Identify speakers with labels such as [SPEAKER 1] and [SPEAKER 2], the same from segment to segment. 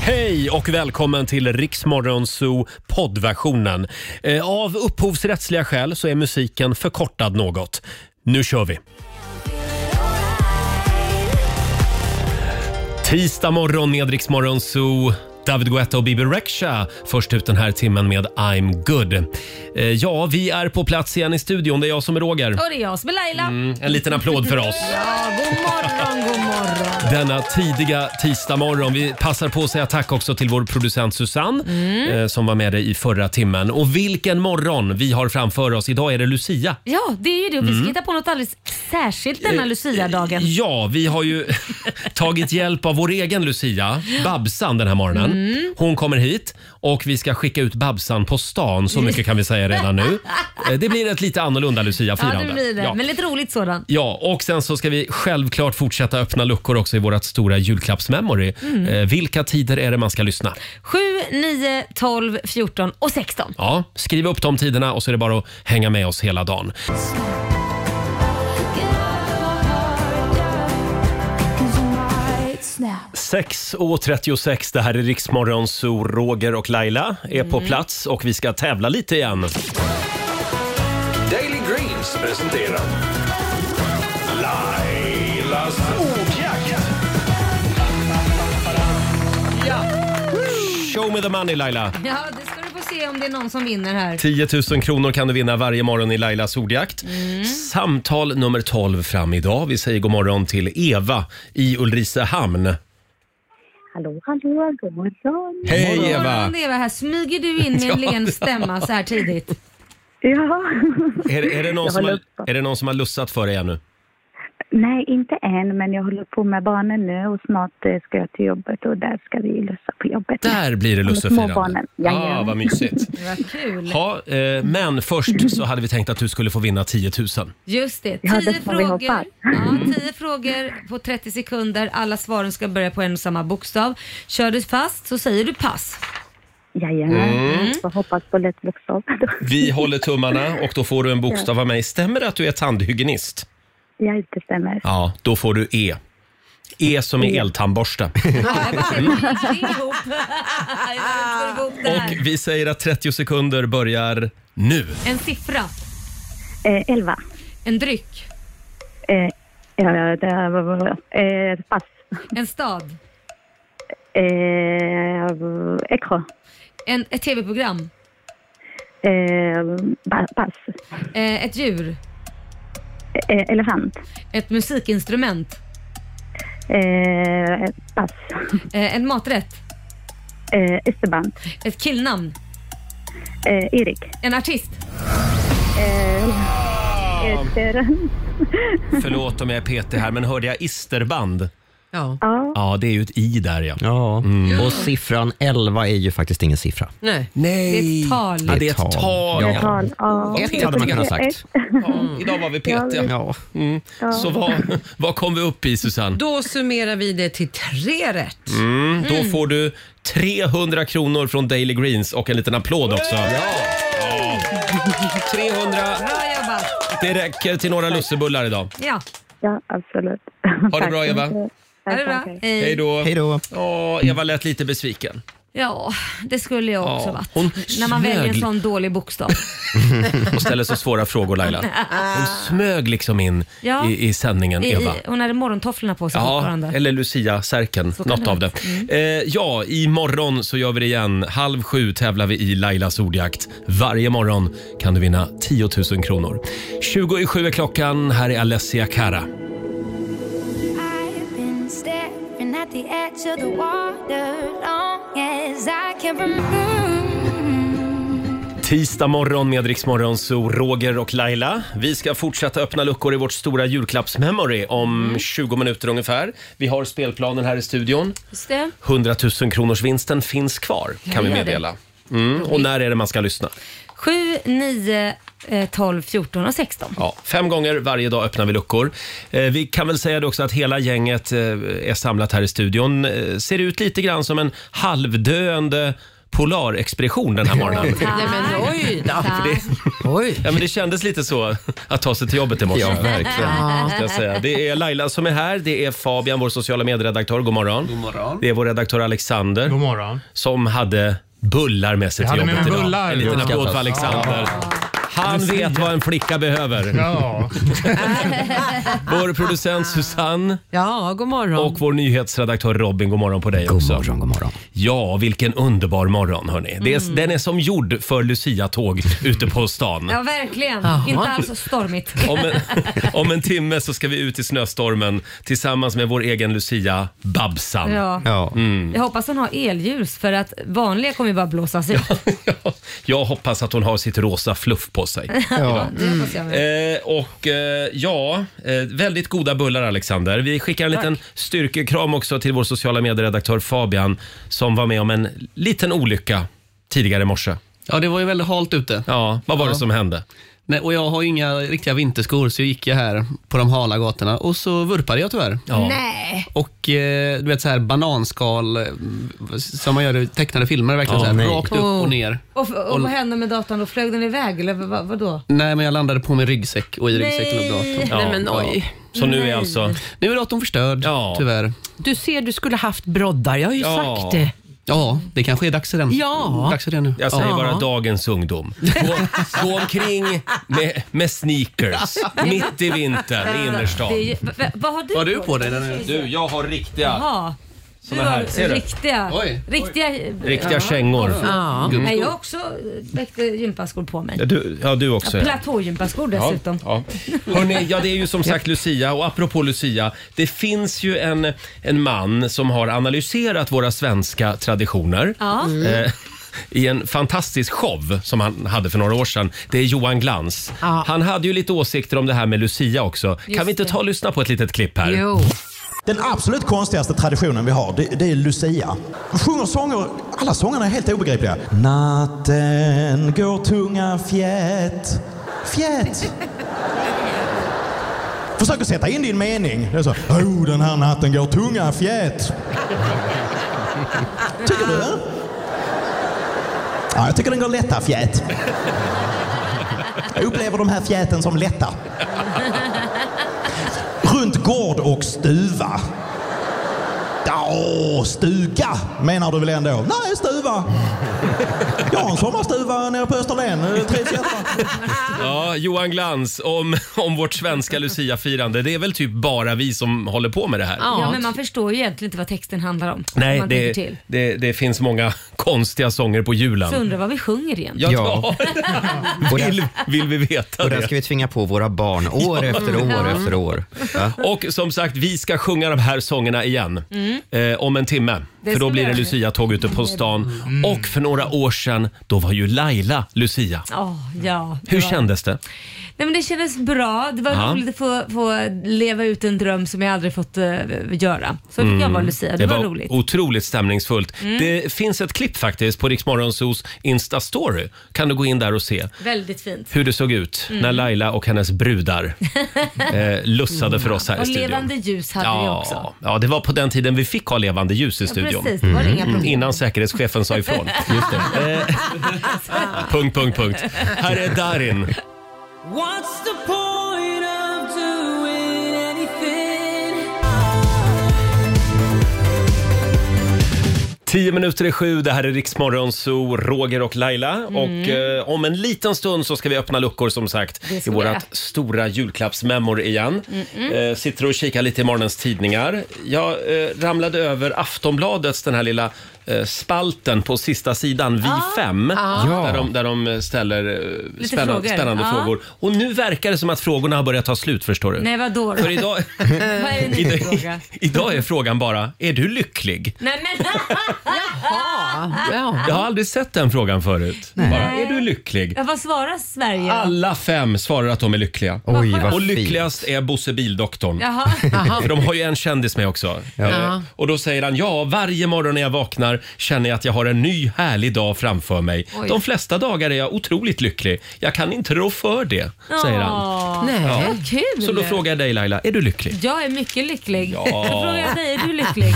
[SPEAKER 1] Hej och välkommen till Riksmorgon Zoo poddversionen. Eh, Av upphovsrättsliga skäl så är musiken förkortad något. Nu kör vi! Tisdag morgon med Riksmorgon Zoo. David Guetta och Bibi Rexha först ut den här timmen med I'm good. Eh, Ja, vi är på plats igen i studion. Det är jag som är Roger.
[SPEAKER 2] Och det är jag som är Laila.
[SPEAKER 1] Mm, en liten applåd för oss.
[SPEAKER 2] Ja, god morgon, god morgon.
[SPEAKER 1] Denna tidiga tisdagmorgon. Vi passar på att säga tack också till vår producent Susanne
[SPEAKER 2] Mm.
[SPEAKER 1] eh, som var med dig i förra timmen. Och vilken morgon vi har framför oss. Idag är det Lucia.
[SPEAKER 2] Ja, det är ju det. Vi
[SPEAKER 1] Mm. Eh,
[SPEAKER 2] ska hitta på något alldeles särskilt denna Lucia-dagen.
[SPEAKER 1] Ja, vi har ju tagit hjälp av vår egen Lucia, Babsan, den här morgonen.
[SPEAKER 2] Mm.
[SPEAKER 1] Hon kommer hit och vi ska skicka ut Babsan på stan. Så mycket kan vi säga redan nu. Eh, Det blir ett lite annorlunda
[SPEAKER 2] Ja,
[SPEAKER 1] Lucia-firande.
[SPEAKER 2] det blir det. Men lite roligt sådant.
[SPEAKER 1] Ja, och sen så ska vi självklart fortsätta öppna luckor också i vårt stora julklappsmemory.
[SPEAKER 2] Mm.
[SPEAKER 1] Eh, vilka tider är det man ska lyssna?
[SPEAKER 2] 7, 9, 12, 14 och 16.
[SPEAKER 1] Ja, skriv upp de tiderna och så är det bara att hänga med oss hela dagen.
[SPEAKER 3] Snap.
[SPEAKER 1] 6.36, det här är Riksmorgon, så Roger och Laila är på
[SPEAKER 3] Mm.
[SPEAKER 1] plats och vi ska tävla lite igen.
[SPEAKER 4] Daily Greens presenterar Lailas ordjakt.
[SPEAKER 1] Show me the money Laila!
[SPEAKER 2] Ja, det ska du få se om det är någon som vinner här.
[SPEAKER 1] 10 000 kronor kan du vinna varje morgon i Lailas ordjakt. Samtal nummer 12 fram idag. Vi säger god morgon till Eva i Ulricehamn.
[SPEAKER 5] Hallå, hallå, god morgon.
[SPEAKER 1] Hej,
[SPEAKER 2] God
[SPEAKER 1] Eva.
[SPEAKER 2] morgon, Eva. Här smyger du in med en
[SPEAKER 1] Ja.
[SPEAKER 2] len stämma så här tidigt.
[SPEAKER 5] Ja.
[SPEAKER 1] Är, är, det, någon
[SPEAKER 5] Jag
[SPEAKER 1] som har,
[SPEAKER 5] håller
[SPEAKER 1] är det någon som har lussat för dig ännu?
[SPEAKER 5] Nej, inte än, men jag håller på med barnen nu och snart eh, ska jag till jobbet och där ska vi lussa på jobbet.
[SPEAKER 1] Där blir det
[SPEAKER 5] Med
[SPEAKER 1] lussefirande.
[SPEAKER 5] småbarnen. Jajamän.
[SPEAKER 1] ah, vad mysigt.
[SPEAKER 2] Vad kul.
[SPEAKER 1] Ja, eh, men först så hade vi tänkt att du skulle få vinna 10 000.
[SPEAKER 2] Just det. 10
[SPEAKER 5] Ja, det får vi
[SPEAKER 2] frågor.
[SPEAKER 5] hoppas.
[SPEAKER 2] Ja,
[SPEAKER 1] Mm.
[SPEAKER 2] 10 frågor på 30 sekunder. Alla svaren ska börja på en och samma bokstav. Kör du fast så säger du pass.
[SPEAKER 5] Jajamän.
[SPEAKER 1] Mm.
[SPEAKER 5] Jag hoppas på lätt bokstav.
[SPEAKER 1] Vi håller tummarna och då får du en bokstav av mig. Stämmer det att du är tandhygienist?
[SPEAKER 5] Ja, det stämmer.
[SPEAKER 1] Ja, då får du E. E som är eltandborste. Och vi säger att 30 sekunder börjar nu.
[SPEAKER 2] En siffra.
[SPEAKER 5] Eh, elva.
[SPEAKER 2] En dryck.
[SPEAKER 5] Eh, ja, det var, eh, pass.
[SPEAKER 2] En stad.
[SPEAKER 5] Eh, Eksjö.
[SPEAKER 2] En, ett tv-program.
[SPEAKER 5] Eh, ba- pass.
[SPEAKER 2] Eh, ett djur.
[SPEAKER 5] Eh, elefant.
[SPEAKER 2] Ett musikinstrument.
[SPEAKER 5] Eh, pass.
[SPEAKER 2] Eh, en maträtt.
[SPEAKER 5] Eh, Esteban.
[SPEAKER 2] Ett killnamn.
[SPEAKER 5] Eh, Erik.
[SPEAKER 2] En artist.
[SPEAKER 5] Eh, Ester.
[SPEAKER 1] Förlåt om jag är petig här, men hörde jag isterband?
[SPEAKER 6] Ja.
[SPEAKER 5] Ja.
[SPEAKER 1] Ja, det är ju ett I där ja.
[SPEAKER 7] Ja,
[SPEAKER 1] Mm.
[SPEAKER 7] och siffran 11 är ju faktiskt ingen siffra.
[SPEAKER 6] Nej.
[SPEAKER 1] Nej.
[SPEAKER 2] Det är ett tal.
[SPEAKER 1] Ja, det är ett tal.
[SPEAKER 7] Ja.
[SPEAKER 5] Tal. Ja.
[SPEAKER 7] Ett hade man kunnat sagt.
[SPEAKER 1] Idag var vi petiga.
[SPEAKER 7] Ja.
[SPEAKER 1] Mm. Så vad, vad kom vi upp i Susanne?
[SPEAKER 6] Då summerar vi det till tre rätt.
[SPEAKER 1] Mm, då får du 300 kronor från Daily Greens och en liten applåd också. 300.
[SPEAKER 2] Bra jobbat.
[SPEAKER 1] Det räcker till några lussebullar idag.
[SPEAKER 2] Ja.
[SPEAKER 5] Ja, absolut.
[SPEAKER 1] Ha det
[SPEAKER 5] Tack
[SPEAKER 1] bra
[SPEAKER 5] så
[SPEAKER 1] Eva.
[SPEAKER 5] mycket.
[SPEAKER 2] Är det bra?
[SPEAKER 5] Tack, tack.
[SPEAKER 1] Hej
[SPEAKER 2] Hej.
[SPEAKER 1] då.
[SPEAKER 7] Hej då.
[SPEAKER 1] Ja, Eva lät lite besviken.
[SPEAKER 2] Ja, det skulle jag också
[SPEAKER 1] Ja,
[SPEAKER 2] varit.
[SPEAKER 1] hon
[SPEAKER 2] När man väljer en
[SPEAKER 1] smög.
[SPEAKER 2] sån dålig bokstav.
[SPEAKER 1] Och ställer så svåra frågor Laila. Hon smög liksom in
[SPEAKER 2] Ja.
[SPEAKER 1] i, i sändningen
[SPEAKER 2] I,
[SPEAKER 1] Eva.
[SPEAKER 2] i, hon hade morgontofflorna på sig
[SPEAKER 1] Ja,
[SPEAKER 2] fortfarande.
[SPEAKER 1] eller Lucia-särken.
[SPEAKER 2] Så kan
[SPEAKER 1] Något
[SPEAKER 2] det
[SPEAKER 1] av det.
[SPEAKER 2] vara.
[SPEAKER 1] Eh,
[SPEAKER 2] Mm.
[SPEAKER 1] ja, imorgon så gör vi det igen. Halv sju tävlar vi i Lailas ordjakt. Varje morgon kan du vinna 10 000 kronor. 20 i sju är klockan. Här är Alessia Cara.
[SPEAKER 3] I've been staring at the edge of the water long as I can remember.
[SPEAKER 1] Tisdag morgon med Rix Morgon, så Roger och Laila. Vi ska fortsätta öppna luckor i vårt stora julklappsmemory om
[SPEAKER 2] Mm.
[SPEAKER 1] 20 minuter ungefär. Vi har spelplanen här i studion.
[SPEAKER 2] Just det.
[SPEAKER 1] 100 000 kronors vinsten finns kvar
[SPEAKER 2] Ja,
[SPEAKER 1] kan vi
[SPEAKER 2] gör det.
[SPEAKER 1] meddela. Mm. Och när är det man ska lyssna?
[SPEAKER 2] 7, 9, eh, 12, 14 och 16.
[SPEAKER 1] Ja, fem gånger varje dag öppnar vi luckor. Eh, vi kan väl säga det också att hela gänget eh, är samlat här i studion. Eh, ser ut lite grann som en halvdöende Polarexpedition den här morgonen.
[SPEAKER 6] Nej men oj då.
[SPEAKER 2] Tack.
[SPEAKER 6] Oj.
[SPEAKER 1] Ja, men Ah. det kändes lite så att ta sig till jobbet i morse.
[SPEAKER 7] Ja, verkligen.
[SPEAKER 1] Ska jag säga. Det är Laila som är här, det är Fabian, vår sociala medieredaktör. God morgon. God
[SPEAKER 4] morgon.
[SPEAKER 1] Det är vår redaktör Alexander
[SPEAKER 8] God morgon.
[SPEAKER 1] som hade bullar med sig
[SPEAKER 8] Jag
[SPEAKER 1] till
[SPEAKER 8] hade med
[SPEAKER 1] jobbet
[SPEAKER 8] mig
[SPEAKER 1] idag.
[SPEAKER 8] bullar.
[SPEAKER 1] En liten
[SPEAKER 8] Ja.
[SPEAKER 1] applåd för Alexander. Han vet vad en flicka behöver.
[SPEAKER 8] Ja,
[SPEAKER 1] Vår producent Susanne
[SPEAKER 6] Ja, god morgon.
[SPEAKER 1] och vår nyhetsredaktör Robin, god morgon på dig
[SPEAKER 7] God
[SPEAKER 1] också.
[SPEAKER 7] morgon, god morgon.
[SPEAKER 1] Ja, vilken underbar morgon hörni. Det är,
[SPEAKER 6] Mm.
[SPEAKER 1] Den är som gjord för Lucia-tåg ute på stan.
[SPEAKER 2] Ja, verkligen.
[SPEAKER 6] Jaha.
[SPEAKER 2] Inte alls stormigt.
[SPEAKER 1] Om en, om en timme så ska vi ut i snöstormen tillsammans med vår egen Lucia, Babsan.
[SPEAKER 2] Ja.
[SPEAKER 7] Ja.
[SPEAKER 9] Mm.
[SPEAKER 1] Mm.
[SPEAKER 2] Jag hoppas hon har elljus för att vanliga kommer ju bara blåsas ut.
[SPEAKER 1] Jag hoppas att hon har sitt rosa fluff på sig.
[SPEAKER 2] Ja, det hoppas jag med.
[SPEAKER 1] Eh, och eh, ja, eh, väldigt goda bullar Alexander. Vi skickar en liten styrkekram också till vår sociala medieredaktör Fabian som var med om en liten olycka tidigare i morse.
[SPEAKER 9] Ja, det var ju väldigt halt ute.
[SPEAKER 1] Ja, vad var det
[SPEAKER 9] Ja.
[SPEAKER 1] som hände?
[SPEAKER 9] Nej, och jag har ju inga riktiga vinterskor, så jag gick jag här på de hala gatorna och så vurpade jag tyvärr.
[SPEAKER 1] Ja.
[SPEAKER 6] Nej.
[SPEAKER 9] Och eh, du vet så här bananskal eh, som man gör i tecknade filmer, verkligen
[SPEAKER 7] Ja,
[SPEAKER 9] så här,
[SPEAKER 7] nej.
[SPEAKER 9] rakt upp och ner.
[SPEAKER 2] Och, och, vad hände med datorn då? Flög den iväg eller vad, vadå?
[SPEAKER 9] Nej, men jag landade på min ryggsäck och i ryggsäcken låg
[SPEAKER 2] Nej.
[SPEAKER 9] datorn.
[SPEAKER 1] Ja.
[SPEAKER 6] Nej men oj.
[SPEAKER 1] Så nu är alltså...
[SPEAKER 9] Nu är datorn förstörd,
[SPEAKER 1] Ja.
[SPEAKER 9] tyvärr.
[SPEAKER 6] Du ser, du skulle haft broddar. Jag har ju
[SPEAKER 1] Ja.
[SPEAKER 6] sagt det.
[SPEAKER 9] Ja, det kanske är dags för den.
[SPEAKER 6] Ja.
[SPEAKER 9] Dags för det nu.
[SPEAKER 1] Jag säger
[SPEAKER 6] Ja.
[SPEAKER 1] bara dagens ungdom. Gå, gå omkring med, med sneakers mitt i vintern i innerstan.
[SPEAKER 2] Det är ju, va, va, vad har du,
[SPEAKER 9] Vad har du på dig? Den är...
[SPEAKER 1] Du, jag har riktiga,
[SPEAKER 2] Jaha. Du
[SPEAKER 1] Såna här, ser
[SPEAKER 2] har
[SPEAKER 1] du?
[SPEAKER 2] riktiga...
[SPEAKER 9] Oj, oj.
[SPEAKER 2] Riktiga...
[SPEAKER 1] riktiga kängor.
[SPEAKER 6] Ja.
[SPEAKER 2] Nej, jag har också eh, väckte gympaskor på mig.
[SPEAKER 1] Ja, Du, ja, du också. ja.
[SPEAKER 2] Platågympaskor dessutom.
[SPEAKER 1] Ja, ja. Hörrni, ja, det är ju som sagt Lucia och apropå Lucia, det finns ju en, en man som har analyserat våra svenska traditioner.
[SPEAKER 2] Ja.
[SPEAKER 1] Eh, i en fantastisk show som han hade för några år sedan. Det är Johan Glans.
[SPEAKER 6] Ja.
[SPEAKER 1] Han hade ju lite åsikter om det här med Lucia också. kan vi inte
[SPEAKER 2] det.
[SPEAKER 1] ta och lyssna på ett litet klipp här?
[SPEAKER 6] Jo.
[SPEAKER 10] Den absolut konstigaste traditionen vi har, det, det är Lucia. De sjunger sånger, alla sångerna är helt obegripliga. Natten går tunga fjät. Fjät! Försök att sätta in din mening. Det är så, oh, den här natten går tunga fjät. Tycker du det? Ja, jag tycker den går lätta fjät. Jag upplever de här fjäten som lätta. Runt gård och stuva. Ja, stuga menar du väl ändå? Nej, stuva. Jag har en sommarstuva nere på Österlen. eh, Det trivs jättebra.
[SPEAKER 1] Ja, Johan Glans om, om vårt svenska Lucia-firande. Det är väl typ bara vi som håller på med det här.
[SPEAKER 2] Ja, men man förstår ju egentligen inte vad texten handlar om. om
[SPEAKER 1] Nej,
[SPEAKER 2] man tänker
[SPEAKER 1] det,
[SPEAKER 2] till.
[SPEAKER 1] det, det finns många konstiga sånger på
[SPEAKER 2] Så
[SPEAKER 1] julen.
[SPEAKER 2] undrar vad vi sjunger igen.
[SPEAKER 1] Ja,
[SPEAKER 7] Ja. Och där-
[SPEAKER 1] vill, vill vi veta
[SPEAKER 7] Och den
[SPEAKER 1] det?
[SPEAKER 7] ska vi tvinga på våra barn år efter år efter år. Ja.
[SPEAKER 1] Och som sagt, vi ska sjunga de här sångerna igen eh, om en timme.
[SPEAKER 2] Mm. Det
[SPEAKER 1] för då
[SPEAKER 2] ska
[SPEAKER 1] blir
[SPEAKER 2] vi
[SPEAKER 1] det
[SPEAKER 2] göra. Mm.
[SPEAKER 1] Lucia-tåg ute på stan. Och för några år sedan, då var ju Laila Lucia.
[SPEAKER 2] Ja, ja. det
[SPEAKER 1] Mm. Hur
[SPEAKER 2] var-
[SPEAKER 1] kändes det?
[SPEAKER 2] Nej, men det kändes bra. Det var
[SPEAKER 1] Ja.
[SPEAKER 2] roligt att få, få leva ut en dröm som jag aldrig fått eh, göra. Så fick
[SPEAKER 1] Mm.
[SPEAKER 2] jag vara Lucia. Det, var, roligt. Mm.
[SPEAKER 1] otroligt stämningsfullt. Det finns ett klipp faktiskt på Rix Morgonzoos Insta-story. Kan du gå in där och se
[SPEAKER 2] Väldigt fint.
[SPEAKER 1] hur det såg ut
[SPEAKER 2] Mm.
[SPEAKER 1] när Laila och hennes brudar eh, lussade för oss här i
[SPEAKER 2] Och
[SPEAKER 1] studion.
[SPEAKER 2] levande ljus hade vi också.
[SPEAKER 1] ja, ja, det var på den tiden vi fick ha levande ljus i
[SPEAKER 2] Ja,
[SPEAKER 1] studion. Mm.
[SPEAKER 2] precis, det var inga problem.
[SPEAKER 1] Innan säkerhetschefen sa ifrån. Just det. Eh, punkt, punkt, punkt. Här är Darin. Tio minuter i sju, det här är Riksmorgon Zoo, Roger och Laila.
[SPEAKER 2] Mm.
[SPEAKER 1] Och eh, om en liten stund så ska vi öppna luckor som sagt
[SPEAKER 2] Det
[SPEAKER 1] i
[SPEAKER 2] ska vi göra.
[SPEAKER 1] vårat stora julklappsmemor igen. Eh, sitter och kikar lite i morgonens tidningar. Jag eh, ramlade över Aftonbladets den här lilla eh, spalten på sista sidan, Vi fem.
[SPEAKER 7] Ja.
[SPEAKER 1] Där, de, där de ställer eh, spännande
[SPEAKER 2] frågor.
[SPEAKER 1] frågor. Spännande
[SPEAKER 2] Ja.
[SPEAKER 1] frågor. Och nu verkar det som att frågorna har börjat ta slut förstår du.
[SPEAKER 2] Nej, vadå då?
[SPEAKER 1] För idag,
[SPEAKER 2] Vad är det nu för fråga?
[SPEAKER 1] idag, idag är frågan bara, är du lycklig?
[SPEAKER 2] Nej, men...
[SPEAKER 6] Ja. Ja.
[SPEAKER 1] Jag har aldrig sett den frågan förut. Bara, är du lycklig?
[SPEAKER 2] Ja, vad svarar Sverige?
[SPEAKER 1] Alla fem svarar att de är lyckliga.
[SPEAKER 7] Oj, vad
[SPEAKER 1] Och
[SPEAKER 7] fint.
[SPEAKER 1] lyckligast är Bosse Bildoktorn.
[SPEAKER 2] Jaha.
[SPEAKER 1] För de har ju en kändis med också. Eh, och då säger han, ja varje morgon när jag vaknar känner jag att jag har en ny härlig dag framför mig.
[SPEAKER 2] Oj.
[SPEAKER 1] De flesta dagar är jag otroligt lycklig. Jag kan inte rå för det, säger han.
[SPEAKER 2] Åh,
[SPEAKER 6] Nej.
[SPEAKER 1] Ja.
[SPEAKER 2] Vad kul!
[SPEAKER 1] Så då frågar jag dig Laila, är du lycklig?
[SPEAKER 2] Jag är mycket lycklig.
[SPEAKER 1] Ja.
[SPEAKER 2] Då frågar jag dig, är du lycklig?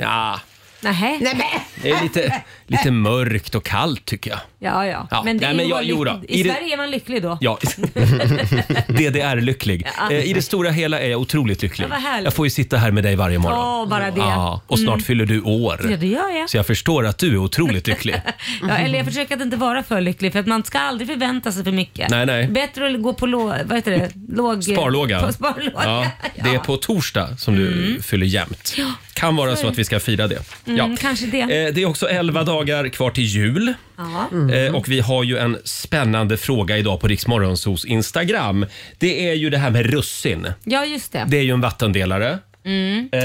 [SPEAKER 1] Ja.
[SPEAKER 2] Nähä.
[SPEAKER 6] Nej men
[SPEAKER 1] Det är lite, lite mörkt och kallt tycker jag.
[SPEAKER 2] Ja, ja.
[SPEAKER 1] Ja,
[SPEAKER 2] Men, det
[SPEAKER 1] nej,
[SPEAKER 2] är
[SPEAKER 1] men
[SPEAKER 2] ju
[SPEAKER 1] jag-
[SPEAKER 2] bara
[SPEAKER 1] jo då.
[SPEAKER 2] lyck- I,
[SPEAKER 1] I det-
[SPEAKER 2] Sverige är man lycklig då.
[SPEAKER 1] Ja, DDR-lycklig.
[SPEAKER 2] Ja.
[SPEAKER 1] Eh, I det stora hela är jag otroligt lycklig.
[SPEAKER 2] Ja, vad härligt.
[SPEAKER 1] jag får ju sitta här med dig varje morgon.
[SPEAKER 2] Åh, bara det.
[SPEAKER 1] Ja, och snart
[SPEAKER 2] Mm.
[SPEAKER 1] fyller du år.
[SPEAKER 2] Ja, det gör jag.
[SPEAKER 1] Så jag förstår att du är otroligt lycklig.
[SPEAKER 2] Ja, eller jag försöker att inte vara för lycklig för att man ska aldrig förvänta sig för mycket.
[SPEAKER 1] Nej, nej.
[SPEAKER 2] Bättre att gå på lå, vad heter det? Låg,
[SPEAKER 1] Sparlåga.
[SPEAKER 2] På sparlåga.
[SPEAKER 1] Ja, det är på torsdag som du fyller jämt. Kan vara så att vi ska fira det.
[SPEAKER 2] Mm,
[SPEAKER 1] Ja.
[SPEAKER 2] Kanske det.
[SPEAKER 1] Eh, Det är också 11 dagar kvar till jul.
[SPEAKER 2] Ja.
[SPEAKER 1] Eh, Och vi har ju en spännande fråga idag på Riksmorgonsos Instagram. Det är ju det här med russin.
[SPEAKER 2] ja, just det.
[SPEAKER 1] Det är ju en vattendelare.
[SPEAKER 2] Mm.
[SPEAKER 1] Eh,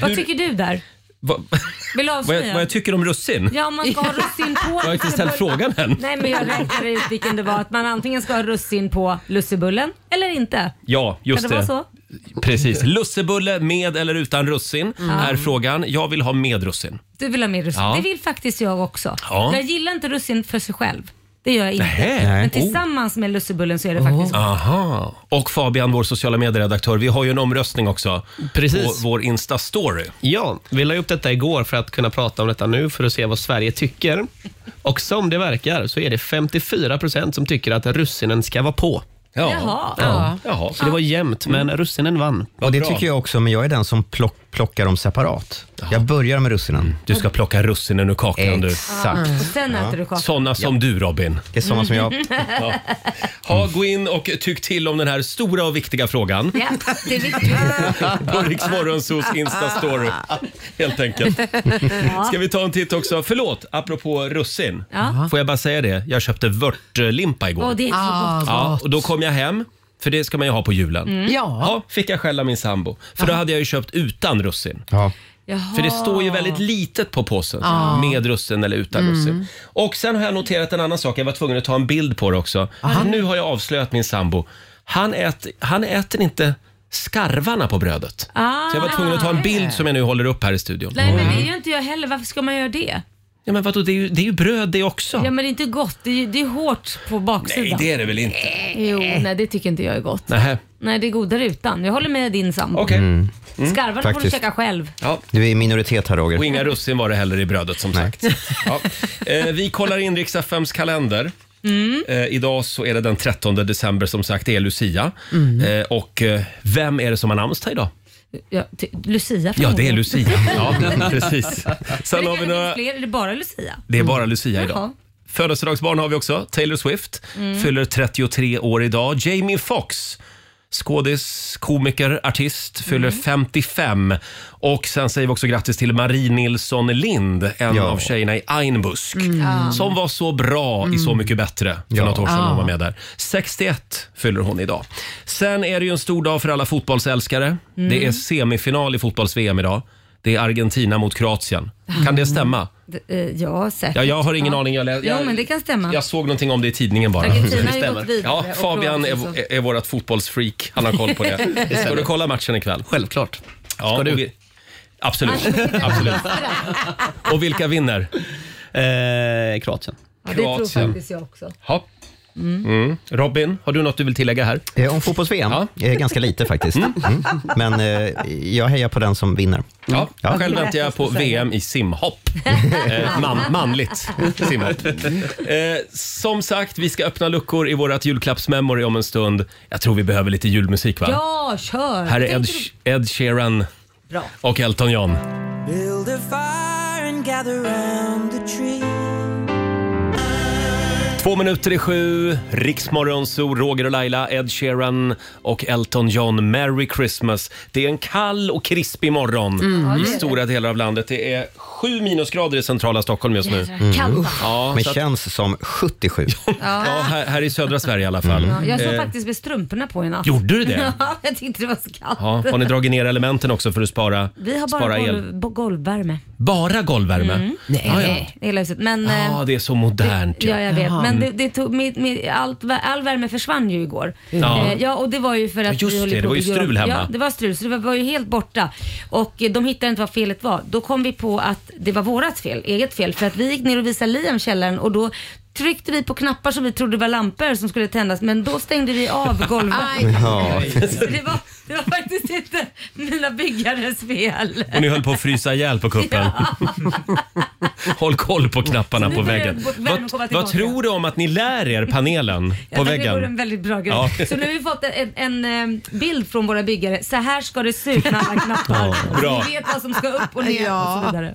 [SPEAKER 2] Vad
[SPEAKER 1] hur-
[SPEAKER 2] tycker du där?
[SPEAKER 1] vad,
[SPEAKER 2] Vill du
[SPEAKER 1] vad,
[SPEAKER 2] avslöja?
[SPEAKER 1] jag, vad jag tycker om russin?
[SPEAKER 2] Ja, om man ska ha russin på.
[SPEAKER 1] Jag har inte ställt frågan än.
[SPEAKER 2] Nej, men jag räknade ut vilken det var. Att man antingen ska ha russin på lussebullen eller inte.
[SPEAKER 1] Ja, just
[SPEAKER 2] kan det, vara så?
[SPEAKER 1] Precis. Lussebulle med eller utan russin
[SPEAKER 2] Mm.
[SPEAKER 1] är frågan. Jag vill ha med russin.
[SPEAKER 2] Du vill ha mer russin.
[SPEAKER 1] Ja.
[SPEAKER 2] Det vill faktiskt jag också.
[SPEAKER 1] Ja.
[SPEAKER 2] Jag gillar inte russin för sig själv. Det gör jag inte.
[SPEAKER 1] Nähä.
[SPEAKER 2] Men
[SPEAKER 1] Nej.
[SPEAKER 2] tillsammans med lussebullen så är det faktiskt gott.
[SPEAKER 1] Aha. Och Fabian, vår sociala medieredaktör, vi har ju en omröstning också.
[SPEAKER 9] Precis.
[SPEAKER 1] På vår Insta-story.
[SPEAKER 9] Ja, vi la upp detta igår för att kunna prata om detta nu för att se vad Sverige tycker. Och som det verkar så är det 54 procent som tycker att russinen ska vara på.
[SPEAKER 1] Ja.
[SPEAKER 2] Jaha.
[SPEAKER 1] Ja. Mm. Jaha.
[SPEAKER 9] Så det var jämnt, men russinen vann.
[SPEAKER 1] Vad
[SPEAKER 7] Och det
[SPEAKER 1] bra.
[SPEAKER 7] tycker jag också, men jag är den som plock, plockar dem separat. Jag börjar med russinen.
[SPEAKER 1] Du ska plocka russinen ur kakan du.
[SPEAKER 7] Exakt.
[SPEAKER 2] Sen äter du kakan.
[SPEAKER 1] Såna som du Robin.
[SPEAKER 7] Det är sådana som jag.
[SPEAKER 1] Mm. Ha, gå in och tyck till om den här stora och viktiga frågan.
[SPEAKER 2] Ja, det är viktigt.
[SPEAKER 1] på Riksmorgonsos Insta-story. Helt enkelt. Ska vi ta en titt också? Förlåt, apropå russin.
[SPEAKER 2] Ja.
[SPEAKER 1] Får jag bara säga det? Jag köpte vörtlimpa igår.
[SPEAKER 2] Åh, det är inte så gott.
[SPEAKER 6] Ah,
[SPEAKER 1] ja,
[SPEAKER 6] gott.
[SPEAKER 1] och då kom jag hem, för det ska man ju ha på julen.
[SPEAKER 2] Mm.
[SPEAKER 6] Ja.
[SPEAKER 1] Ja, fick jag skälla min sambo. För då hade jag ju köpt utan russin.
[SPEAKER 7] Ja.
[SPEAKER 2] Jaha.
[SPEAKER 1] För det står ju
[SPEAKER 2] Ah.
[SPEAKER 1] väldigt litet på påsen. Med russin eller utan
[SPEAKER 2] Mm.
[SPEAKER 1] russin. Och sen har jag noterat en annan sak. Jag var tvungen att ta en bild på det också. Nu har jag avslöjat min sambo. Han, ät, han äter inte skarvarna på brödet.
[SPEAKER 2] Ah.
[SPEAKER 1] Så jag var tvungen att ta en bild som jag nu håller upp här i studion.
[SPEAKER 2] Nej, men
[SPEAKER 1] Mm.
[SPEAKER 2] det gör inte jag heller. Varför ska man göra det?
[SPEAKER 1] Ja, men vadå, det är ju, det är ju bröd det också.
[SPEAKER 2] Ja, men det är inte gott. Det är, ju- det är hårt på
[SPEAKER 1] Nej,
[SPEAKER 2] baksidan.
[SPEAKER 1] det är det väl inte?
[SPEAKER 2] Jo, nej, det tycker inte jag är gott.
[SPEAKER 1] Nähä,
[SPEAKER 2] Nej, det är godare utan. Jag håller med din sambo.
[SPEAKER 1] okej. Mm.
[SPEAKER 2] Skarvarna får du
[SPEAKER 7] faktiskt.
[SPEAKER 2] käka själv.
[SPEAKER 1] Ja.
[SPEAKER 7] Du är i minoritet här Roger.
[SPEAKER 1] Och inga russin var det heller i brödet som sagt. Ja. Eh, vi kollar in riks FMs kalender. Eh, idag så är det den 13 december som sagt, det är Lucia. Eh, och eh, vem är det som har namnsdag idag?
[SPEAKER 2] Ja, ty- Lucia
[SPEAKER 1] Ja, det är
[SPEAKER 2] förmodligen.
[SPEAKER 1] Lucia. Ja, precis.
[SPEAKER 2] Men
[SPEAKER 1] Sen
[SPEAKER 2] det
[SPEAKER 1] har vi
[SPEAKER 2] kanske
[SPEAKER 1] några...
[SPEAKER 2] finns fler. Är det bara Lucia?
[SPEAKER 1] Det är bara Lucia
[SPEAKER 2] Jaha.
[SPEAKER 1] idag. Födelsedagsbarn har vi också. Taylor Swift fyller 33 år idag. Jamie Foxx, skådis, komiker, artist, fyller 55. Och sen säger vi också grattis till Marie Nilsson Lind, en
[SPEAKER 7] Ja.
[SPEAKER 1] av tjejerna i Einbusk. Som var så bra i Så mycket bättre för
[SPEAKER 7] Ja.
[SPEAKER 1] något år sedan hon var med där. 61 fyller hon idag. Sen är det ju en stor dag för alla fotbollsälskare. Det är semifinal i fotbolls-VM idag. Det är Argentina mot Kroatien. Kan det stämma?
[SPEAKER 2] D- eh, Ja, säkert.
[SPEAKER 1] Ja, jag har ingen aning. Jag, lä-
[SPEAKER 2] Jo,
[SPEAKER 1] jag,
[SPEAKER 2] men det kan stämma.
[SPEAKER 1] jag såg någonting om det i tidningen bara.
[SPEAKER 2] Argentina
[SPEAKER 1] Det
[SPEAKER 2] har ju
[SPEAKER 1] stämmer.
[SPEAKER 2] gått vidare
[SPEAKER 1] ja,
[SPEAKER 2] och
[SPEAKER 1] Fabian är,
[SPEAKER 2] Kroatien
[SPEAKER 1] är, är vårt fotbollsfreak. Han har koll på det. Ska du kolla matchen ikväll?
[SPEAKER 9] Självklart.
[SPEAKER 1] Ja, Ska
[SPEAKER 9] du?
[SPEAKER 1] Absolut. Absolut. Och vilka vinner?
[SPEAKER 9] Eh, Kroatien.
[SPEAKER 2] ja, det tror
[SPEAKER 1] Kroatien.
[SPEAKER 2] faktiskt jag också.
[SPEAKER 1] Ja. Mm. Robin, har du något du vill tillägga här?
[SPEAKER 7] Eh, Om fotbolls-VM? Eh, Ganska lite faktiskt. Mm. Men eh, jag hejar på den som vinner.
[SPEAKER 1] Ja,
[SPEAKER 7] Ja.
[SPEAKER 1] Själv väntar jag på VM i simhopp. Eh, man, manligt simhopp. Eh, som sagt, vi ska öppna luckor i vårt julklappsmemory om en stund. Jag tror vi behöver lite julmusik, va?
[SPEAKER 2] Ja, kör!
[SPEAKER 1] Här är
[SPEAKER 2] Tänkte
[SPEAKER 1] Ed,
[SPEAKER 2] du-
[SPEAKER 1] Ed Sheeran
[SPEAKER 2] Bra.
[SPEAKER 1] och Elton John. Två minuter i sju, Riksmorgonzoo, Roger och Laila, Ed Sheeran och Elton John. Merry Christmas! Det är en kall och krispig morgon
[SPEAKER 2] Mm.
[SPEAKER 1] i stora delar av landet. Det är sju minusgrader i centrala Stockholm just nu. Mm.
[SPEAKER 2] Kallt. alltså.
[SPEAKER 1] Ja,
[SPEAKER 7] Men
[SPEAKER 1] så att,
[SPEAKER 7] känns som 77.
[SPEAKER 1] ja här, här i södra Sverige i alla fall.
[SPEAKER 2] Ja, jag såg faktiskt med strumporna på i natt.
[SPEAKER 1] Eh. Gjorde du det?
[SPEAKER 2] Ja, jag tyckte det var så kallt.
[SPEAKER 1] Ja, har ni dragit ner elementen också för att spara,
[SPEAKER 2] Vi har
[SPEAKER 1] spara
[SPEAKER 2] bara
[SPEAKER 1] el?
[SPEAKER 2] golv, Mm. golvvärme.
[SPEAKER 1] Bara golvvärme?
[SPEAKER 6] Nej.
[SPEAKER 1] Ja, ja.
[SPEAKER 2] Hela huset. Men,
[SPEAKER 1] Ja,
[SPEAKER 2] eh,
[SPEAKER 1] det är så modernt.
[SPEAKER 2] Ja, jag vet.
[SPEAKER 6] Jaha.
[SPEAKER 2] Men
[SPEAKER 1] Mm.
[SPEAKER 2] det, det tog, mitt- mitt- allt, vä- all värme försvann ju igår.
[SPEAKER 1] Ja.
[SPEAKER 2] Eh, ja, och det var ju för att...
[SPEAKER 1] Ja, just
[SPEAKER 2] vi höll
[SPEAKER 1] det,
[SPEAKER 2] på
[SPEAKER 1] det var ju
[SPEAKER 2] att bygga om-
[SPEAKER 1] strul hemma.
[SPEAKER 2] Ja, det var strul, så det var, var ju helt borta. Och eh, de hittade inte vad felet var. Då kom vi på att det var vårat fel, eget fel. För att vi gick ner och visade Liam källaren och då tryckte vi på knappar som vi trodde var lampor som skulle tändas men då stängde vi av golvet.
[SPEAKER 7] Ja.
[SPEAKER 2] Så det, var, det var faktiskt inte mina byggares fel.
[SPEAKER 1] Och ni höll på att frysa ihjäl på kuppen. Håll koll på knapparna
[SPEAKER 2] Nu
[SPEAKER 1] på
[SPEAKER 2] börjar
[SPEAKER 1] väggen.
[SPEAKER 2] värmen komma
[SPEAKER 1] Vad, vad
[SPEAKER 2] tillbaka.
[SPEAKER 1] tror du om att ni lär er panelen på
[SPEAKER 2] Jag tänkte Det vore en
[SPEAKER 1] väggen?
[SPEAKER 2] väldigt bra grej.
[SPEAKER 1] Ja.
[SPEAKER 2] Så nu har vi fått en, en, em, bild från våra byggare. Så här ska det se ut med alla knappar.
[SPEAKER 1] bra.
[SPEAKER 2] Ni vet vad som ska upp och ner och så vidare.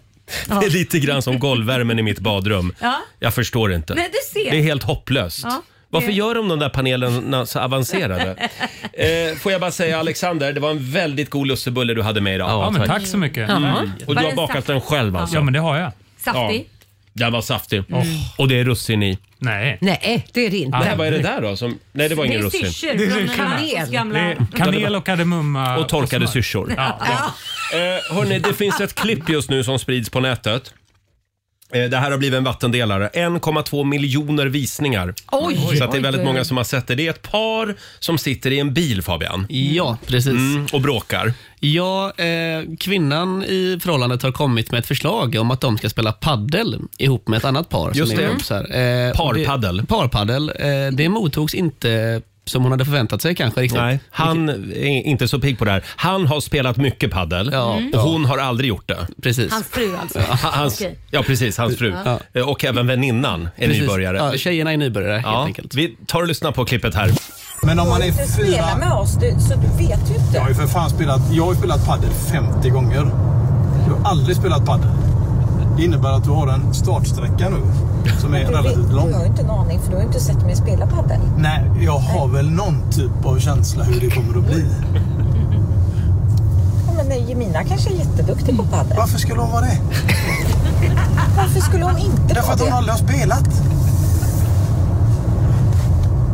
[SPEAKER 1] Det är lite grann som golvvärmen i mitt badrum.
[SPEAKER 2] Ja.
[SPEAKER 1] Jag förstår inte.
[SPEAKER 2] Nej, du ser.
[SPEAKER 1] Det är helt hopplöst.
[SPEAKER 2] Ja,
[SPEAKER 1] Varför
[SPEAKER 2] det-
[SPEAKER 1] gör de de där panelerna så avancerade? eh, får jag bara säga Alexander, det var en väldigt god lussebulle du hade med idag.
[SPEAKER 8] Ja, men tack så mycket. Mm.
[SPEAKER 1] Och
[SPEAKER 2] Var
[SPEAKER 1] du har
[SPEAKER 2] den
[SPEAKER 1] bakat
[SPEAKER 2] saft-
[SPEAKER 1] den själv alltså?
[SPEAKER 8] Ja, men det har jag.
[SPEAKER 2] Saftig.
[SPEAKER 1] Den var saftig. Oh. Och det är russin i.
[SPEAKER 8] Nej.
[SPEAKER 6] Nej, det är det inte.
[SPEAKER 1] Det här, vad är det där då? Som, nej, det var
[SPEAKER 2] Det
[SPEAKER 1] ingen
[SPEAKER 2] är
[SPEAKER 1] russin.
[SPEAKER 2] syrsor
[SPEAKER 8] Det är
[SPEAKER 2] från
[SPEAKER 8] syrsor.
[SPEAKER 2] Marcos
[SPEAKER 8] Det
[SPEAKER 2] gamla...
[SPEAKER 8] är kanel och kardemumma.
[SPEAKER 1] Och torkade
[SPEAKER 8] smör.
[SPEAKER 1] syrsor.
[SPEAKER 8] Ja, ja.
[SPEAKER 1] Eh, hörni, det finns ett klipp just nu som sprids på nätet. Eh, Det här har blivit en vattendelare. 1,2 miljoner visningar.
[SPEAKER 6] Oj!
[SPEAKER 1] Så att det är väldigt
[SPEAKER 6] Oj, oj, oj.
[SPEAKER 1] många som har sett det. Det är ett par som sitter i en bil, Fabian,
[SPEAKER 9] Ja, precis.
[SPEAKER 1] mm, och bråkar.
[SPEAKER 9] Ja, eh, kvinnan i förhållandet har kommit med ett förslag om att de ska spela paddel ihop med ett annat par.
[SPEAKER 1] Just det.
[SPEAKER 9] Som är eh,
[SPEAKER 1] Parpaddel.
[SPEAKER 9] Det, parpaddel. Eh, det mottogs inte som hon hade förväntat sig kanske riktigt.
[SPEAKER 1] Nej, han är inte så pigg på det här. Han har spelat mycket paddel
[SPEAKER 9] Ja.
[SPEAKER 1] och hon har aldrig gjort det.
[SPEAKER 9] Precis.
[SPEAKER 2] Hans fru alltså.
[SPEAKER 1] Ha- Hans,
[SPEAKER 2] Okej.
[SPEAKER 1] Ja, precis. Hans fru. Eh, Och även väninnan är
[SPEAKER 9] Precis.
[SPEAKER 1] nybörjare.
[SPEAKER 9] Ja, tjejerna är nybörjare helt
[SPEAKER 1] Ja,
[SPEAKER 9] enkelt.
[SPEAKER 1] vi tar och lyssnar på klippet här.
[SPEAKER 10] Men om man är fyra...
[SPEAKER 11] med oss, så du vet ju
[SPEAKER 10] Jag har
[SPEAKER 11] inte.
[SPEAKER 10] ju för fan spelat, jag har ju spelat padel 50 gånger. Jag har aldrig spelat padel. Det innebär att du har en startsträcka nu som är relativt lång.
[SPEAKER 11] inte en aning för du har inte sett mig spela padel.
[SPEAKER 10] Nej, jag har väl någon typ av känsla hur det kommer att bli.
[SPEAKER 11] Ja, men Jemina kanske är jätteduktig på padel.
[SPEAKER 10] Varför skulle hon vara det?
[SPEAKER 11] Varför skulle hon inte
[SPEAKER 10] Därför att hon aldrig har spelat.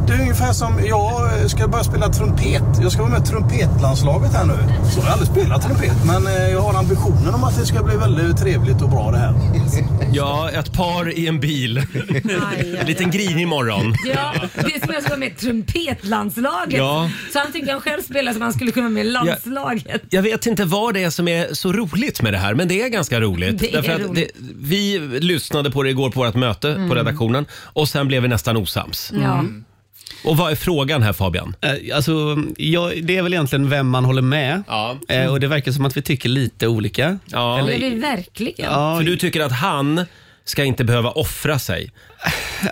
[SPEAKER 10] Det är ungefär som, jag ska börja spela trumpet. Jag ska vara med i trumpetlandslaget här nu. Så jag har aldrig spelat trumpet, men eh, jag har ambitionen om att det ska bli väldigt trevligt och bra det här.
[SPEAKER 1] Ja, ett par i en bil. En liten grinig morgon.
[SPEAKER 2] Ja, det är som jag ska vara med i trumpetlandslaget.
[SPEAKER 1] Ja.
[SPEAKER 2] Så han tycker han själv spelar som han skulle kunna vara med i landslaget.
[SPEAKER 1] Jag vet inte vad det är som är så roligt med det här, men det är ganska roligt.
[SPEAKER 2] Det är
[SPEAKER 1] Därför att
[SPEAKER 2] roligt.
[SPEAKER 1] det, vi lyssnade på det igår på vårt möte på redaktionen och sen blev vi nästan osams.
[SPEAKER 2] Ja.
[SPEAKER 1] Och vad är frågan här Fabian?
[SPEAKER 9] Eh, Alltså, ja, det är väl egentligen vem man håller med.
[SPEAKER 1] Ja.
[SPEAKER 9] Eh, och Det verkar som att vi tycker lite olika.
[SPEAKER 1] Ja.
[SPEAKER 2] Det är vi verkligen.
[SPEAKER 9] Ja,
[SPEAKER 1] För du tycker att han ska inte behöva offra sig.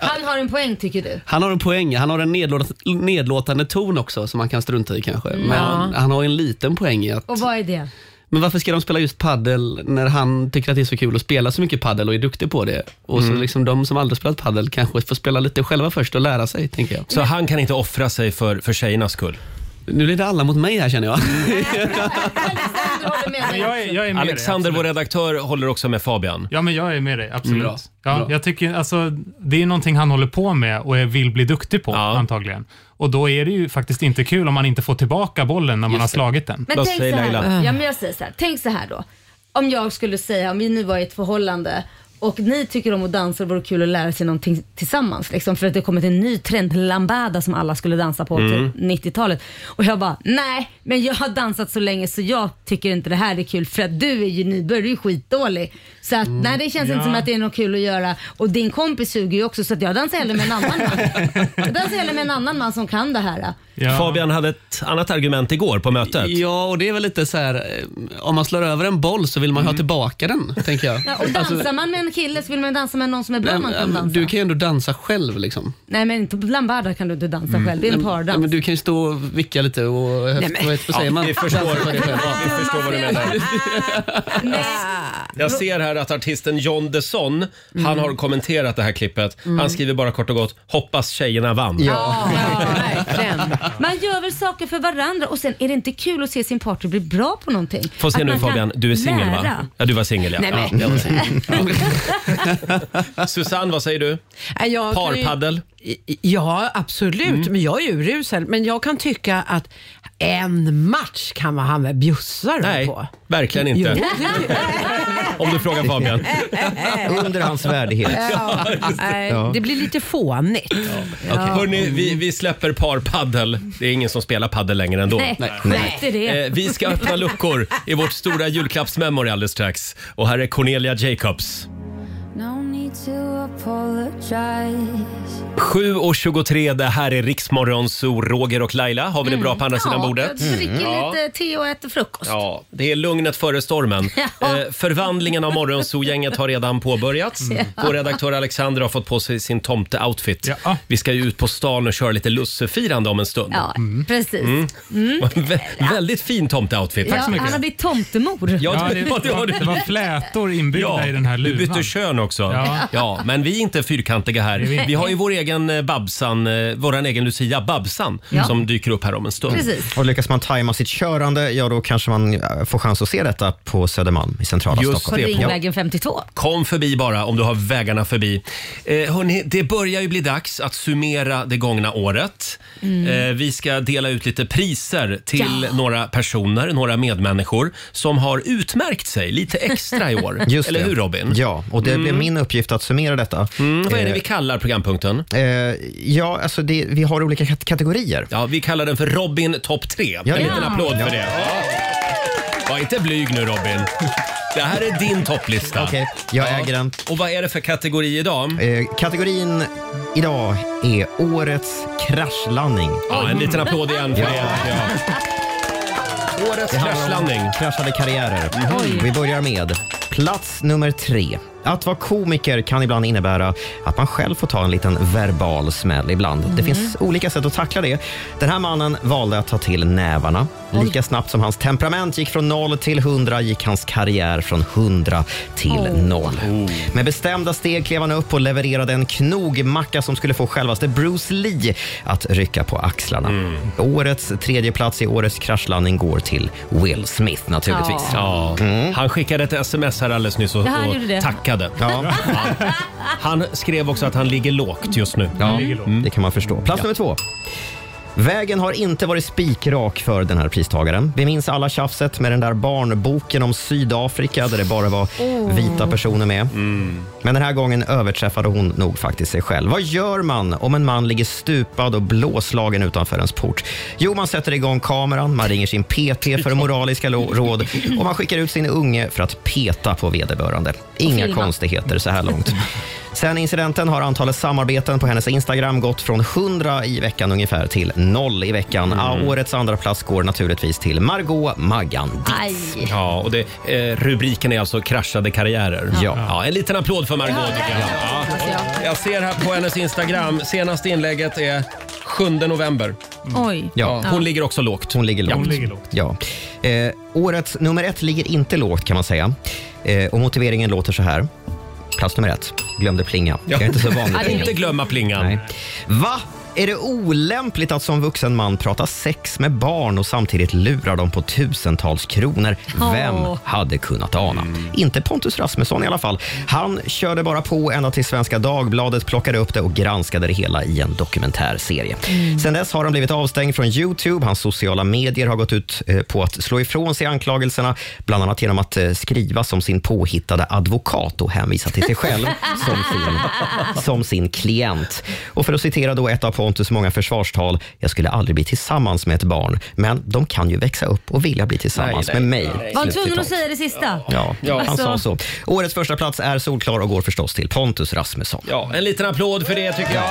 [SPEAKER 2] Han har en poäng tycker du.
[SPEAKER 9] Han har en poäng. Han har en nedlåt- nedlåtande ton också som man kan strunta i kanske. Men han har ju en liten poäng i att...
[SPEAKER 2] Och vad är det?
[SPEAKER 9] Men varför ska de spela just paddel när han tycker att det är så kul att spela så mycket paddel och är duktig på det? Och
[SPEAKER 1] Mm.
[SPEAKER 9] så liksom de som aldrig spelat paddel kanske får spela lite själva först och lära sig, tänker jag.
[SPEAKER 1] Så han kan inte offra sig för, för tjejernas skull.
[SPEAKER 9] Nu blir det alla mot mig här känner jag.
[SPEAKER 2] Alexander håller med
[SPEAKER 8] Men
[SPEAKER 2] dig.
[SPEAKER 8] jag är, jag är med dig,
[SPEAKER 1] Alexander, Mm.
[SPEAKER 8] absolut.
[SPEAKER 1] vår redaktör, håller också med Fabian.
[SPEAKER 8] Ja, men jag är med dig. Absolut.
[SPEAKER 9] Bra.
[SPEAKER 8] Ja, Jag tycker, alltså, det är någonting han håller på med och är- vill bli duktig på
[SPEAKER 1] Ja.
[SPEAKER 8] antagligen. Och då är det ju faktiskt inte kul om man inte får tillbaka bollen när man har slagit den.
[SPEAKER 2] Men
[SPEAKER 1] Vad
[SPEAKER 2] tänk
[SPEAKER 1] säger
[SPEAKER 2] så här.
[SPEAKER 1] Laila?
[SPEAKER 2] Ja, men jag säger så här. Tänk så här då. Om jag skulle säga, om vi nu var i ett förhållande och ni tycker om att dansa och det vore kul att lära sig någonting tillsammans. Liksom, för att det har kommit en ny trend, lambada som alla skulle dansa på till 90-talet. Och jag bara, nej men jag har dansat så länge så jag tycker inte det här är kul för att du är ju nybörjare, du är ju skitdålig. Så att, nej det känns inte som att det är något kul att göra. Och din kompis suger ju också så att jag dansar hellre med en annan man. Jag dansar hellre med en annan man som kan det här.
[SPEAKER 8] Ja.
[SPEAKER 1] Fabian hade ett annat argument igår på mötet.
[SPEAKER 9] Ja, och det är väl lite så här, eh, om man slår över en boll så vill man ju ha
[SPEAKER 1] Mm.
[SPEAKER 9] tillbaka den, tänker jag. Alltså, eh,
[SPEAKER 2] Ja, och dansar
[SPEAKER 1] Alltså,
[SPEAKER 2] man med en kille så vill man ju dansa med någon som är bra man kan dansa.
[SPEAKER 9] Du kan ju ändå dansa själv liksom.
[SPEAKER 2] Nej men inte bland bardar kan du inte dansa
[SPEAKER 1] Mm.
[SPEAKER 2] själv, det är en
[SPEAKER 9] Ja,
[SPEAKER 2] pardans.
[SPEAKER 9] men du kan ju stå och vicka lite och höft, vad heter- vad säger man?
[SPEAKER 1] Vi förstår,
[SPEAKER 9] Dansa för dig själv.
[SPEAKER 1] vi förstår vad du menar.
[SPEAKER 2] Nej.
[SPEAKER 1] Jag ser här att artisten John Desson, han har kommenterat det här klippet. Han skriver bara kort och gott, hoppas tjejerna vann.
[SPEAKER 6] Ja, verkligen.
[SPEAKER 2] Man gör väl saker för varandra och sen är det inte kul att se sin partner bli bra på någonting.
[SPEAKER 1] Får se
[SPEAKER 2] Att
[SPEAKER 1] nu
[SPEAKER 2] man kan
[SPEAKER 1] Fabian, du är singel va?
[SPEAKER 2] lära.
[SPEAKER 1] Ja, du var singel ja.
[SPEAKER 6] Nej, men-
[SPEAKER 1] ja jag var singel. Ja. Susanne, vad säger du?
[SPEAKER 6] Nej, jag kan ju-
[SPEAKER 1] Parpaddel?
[SPEAKER 6] I- Ja, absolut.
[SPEAKER 1] Mm.
[SPEAKER 6] Men jag är urusel. Men jag kan tycka att en match kan man han väl bjussa då
[SPEAKER 1] Nej,
[SPEAKER 6] på.
[SPEAKER 1] verkligen inte.
[SPEAKER 6] Jo, det tycker
[SPEAKER 1] Om du frågar Fabian.
[SPEAKER 7] Under hans värdighet.
[SPEAKER 6] jag. Eh, Det blir lite fånigt.
[SPEAKER 1] Hörni, vi, vi släpper parpaddel. Det är ingen som spelar paddel längre ändå.
[SPEAKER 2] Nej, skit i det.
[SPEAKER 1] Eh, vi ska öppna luckor i vårt stora julklappsmemory alldeles strax. Och här är Cornelia Jacobs.
[SPEAKER 3] No need to apologize.
[SPEAKER 1] 7.23, det här är Riksmorgon, så Roger och Laila. Har vi det bra på andra sidan
[SPEAKER 2] Mm. ja,
[SPEAKER 1] bordet? Mm.
[SPEAKER 2] Jag dricker
[SPEAKER 1] Ja.
[SPEAKER 2] lite te och äter frukost.
[SPEAKER 1] Ja, det är lugnet före stormen.
[SPEAKER 2] Ja.
[SPEAKER 1] Eh, förvandlingen av Morgonzoo-gänget har redan påbörjats.
[SPEAKER 2] Mm.
[SPEAKER 1] Vår redaktör Alexander har fått på sig sin tomte-outfit. Vi ska ju ut på stan och köra lite lussefirande om en stund.
[SPEAKER 2] Ja, precis.
[SPEAKER 1] Mm.
[SPEAKER 2] Mm.
[SPEAKER 1] Vä- Väldigt fin tomte-outfit.
[SPEAKER 2] Ja, han har blivit tomtemor.
[SPEAKER 1] Ja, det, ja, det, har du.
[SPEAKER 8] det var flätor inbyggda
[SPEAKER 1] Ja,
[SPEAKER 8] i den här
[SPEAKER 1] Du bytte
[SPEAKER 8] luvan.
[SPEAKER 1] kön också. Ja.
[SPEAKER 8] Ja.
[SPEAKER 1] men vi är inte fyrkantiga här.
[SPEAKER 8] Nej, vi är inte.
[SPEAKER 1] Vi har ju vår egen eh, Babsan, eh, vår egen Lucia Babsan,
[SPEAKER 2] Ja.
[SPEAKER 1] som dyker upp här om en stund.
[SPEAKER 7] Och lyckas man tajma sitt körande, ja då kanske man eh, får chans att se detta på Södermalm i centrala
[SPEAKER 1] Just
[SPEAKER 7] Stockholm.
[SPEAKER 1] det, på-
[SPEAKER 7] Ja.
[SPEAKER 2] Ringvägen 52.
[SPEAKER 1] Kom förbi bara om du har vägarna förbi. Eh, hörni, det börjar ju bli dags att summera det gångna året.
[SPEAKER 2] Mm.
[SPEAKER 1] Eh, vi ska dela ut lite priser till
[SPEAKER 2] Ja.
[SPEAKER 1] några personer, några medmänniskor som har utmärkt sig lite extra i år.
[SPEAKER 7] Just
[SPEAKER 1] Eller
[SPEAKER 7] det.
[SPEAKER 1] hur Robin?
[SPEAKER 7] Ja, och det
[SPEAKER 1] Mm.
[SPEAKER 7] blir min uppgift att summera detta.
[SPEAKER 1] Mm, vad är det
[SPEAKER 7] Eh,
[SPEAKER 1] vi kallar programpunkten?
[SPEAKER 7] Eh, ja, alltså det, vi har olika kat- kategorier.
[SPEAKER 1] Ja, vi kallar den för Robin topp 3.
[SPEAKER 7] Ja,
[SPEAKER 1] en
[SPEAKER 7] ja.
[SPEAKER 1] liten applåd för det. Var inte blyg nu Robin. Det här är din topplista.
[SPEAKER 7] Okej, jag äger den.
[SPEAKER 1] Och vad är det för kategori idag?
[SPEAKER 7] Eh, kategorin idag är årets kraschlandning.
[SPEAKER 1] Ja, en liten applåd igen för
[SPEAKER 7] Ja.
[SPEAKER 1] det. Ja. Årets
[SPEAKER 7] Det handlar om
[SPEAKER 1] kraschlandning.
[SPEAKER 7] Kraschade karriärer.
[SPEAKER 1] Oj.
[SPEAKER 7] Vi börjar med plats nummer tre. Att vara komiker kan ibland innebära att man själv får ta en liten verbal smäll ibland. Det finns olika sätt att tackla det. Den här mannen valde att ta till nävarna. Lika snabbt som hans temperament gick från noll till hundra gick hans karriär från hundra till
[SPEAKER 12] Oh.
[SPEAKER 7] noll. Med bestämda steg klev han upp och levererade en knogmacka som skulle få självaste Bruce Lee att rycka på axlarna. Årets tredje plats i årets kraschlandning går till Will Smith naturligtvis.
[SPEAKER 1] Ja.
[SPEAKER 7] Mm.
[SPEAKER 1] Han skickade ett sms här alldeles nyss och,
[SPEAKER 7] Ja, han gjorde
[SPEAKER 1] och
[SPEAKER 7] det.
[SPEAKER 1] tackade.
[SPEAKER 7] Ja.
[SPEAKER 1] Han skrev också att han ligger lågt just nu.
[SPEAKER 7] Ja,
[SPEAKER 1] Mm.
[SPEAKER 7] det kan man förstå. Plats nummer två. Vägen har inte varit spikrak för den här pristagaren. Vi minns alla tjafset med den där barnboken om Sydafrika där det bara var
[SPEAKER 12] Oh.
[SPEAKER 7] vita personer med. Men den här gången överträffade hon nog faktiskt sig själv. Vad gör man om en man ligger stupad och blåslagen utanför ens port? Jo, man sätter igång kameran, man ringer sin PT för moraliska lo- råd och man skickar ut sin unge för att peta på vederbörande. Inga
[SPEAKER 12] filma.
[SPEAKER 7] konstigheter så här långt. Sen incidenten har antalet samarbeten på hennes Instagram gått från 100 i veckan ungefär till 0 i veckan. Ja, årets andra plats går naturligtvis till Margot Maggan
[SPEAKER 2] Aj.
[SPEAKER 1] Ja, och det, eh, rubriken är alltså kraschade karriärer.
[SPEAKER 7] Ja.
[SPEAKER 1] en liten applåd för Margot tycker jag. Ja. Jag ser här på hennes Instagram, senaste inlägget är 7 november.
[SPEAKER 2] Oj.
[SPEAKER 7] Ja.
[SPEAKER 1] Hon ligger också lågt.
[SPEAKER 7] Hon ligger lågt.
[SPEAKER 1] Hon ligger lågt.
[SPEAKER 7] Ja. Eh, årets nummer ett ligger inte lågt kan man säga. Eh, och motiveringen låter så här. Plats nummer ett. Glömde plinga. Jag är inte så van
[SPEAKER 1] Ja, det är
[SPEAKER 7] vid
[SPEAKER 1] Inte glömma plingan.
[SPEAKER 7] Nej.
[SPEAKER 12] Ah,
[SPEAKER 7] Va? Är det olämpligt att som vuxen man prata sex med barn och samtidigt lura dem på tusentals kronor? Vem
[SPEAKER 12] Åh.
[SPEAKER 7] hade kunnat ana? Inte Pontus Rasmusson i alla fall. Han körde bara på ända till Svenska Dagbladet plockade upp det och granskade det hela i en dokumentärserie. Sen dess har han blivit avstängd från Youtube. Hans sociala medier har gått ut eh, på att slå ifrån sig anklagelserna, bland annat genom att eh, skriva som sin påhittade advokat och hänvisa till sig själv som sin, som sin klient. Och för att citera då ett av Pontus många försvarstal, jag skulle aldrig bli tillsammans med ett barn, men de kan ju växa upp och vilja bli tillsammans
[SPEAKER 2] Nej,
[SPEAKER 7] med
[SPEAKER 2] nej,
[SPEAKER 7] mig.
[SPEAKER 2] Var han tvungen
[SPEAKER 7] Slutcitat.
[SPEAKER 2] att säga det sista?
[SPEAKER 7] Ja, han
[SPEAKER 2] Alltså,
[SPEAKER 7] sa så. Årets första plats är solklar och går förstås till Pontus Rasmusson.
[SPEAKER 1] Ja, en liten applåd för det tycker jag.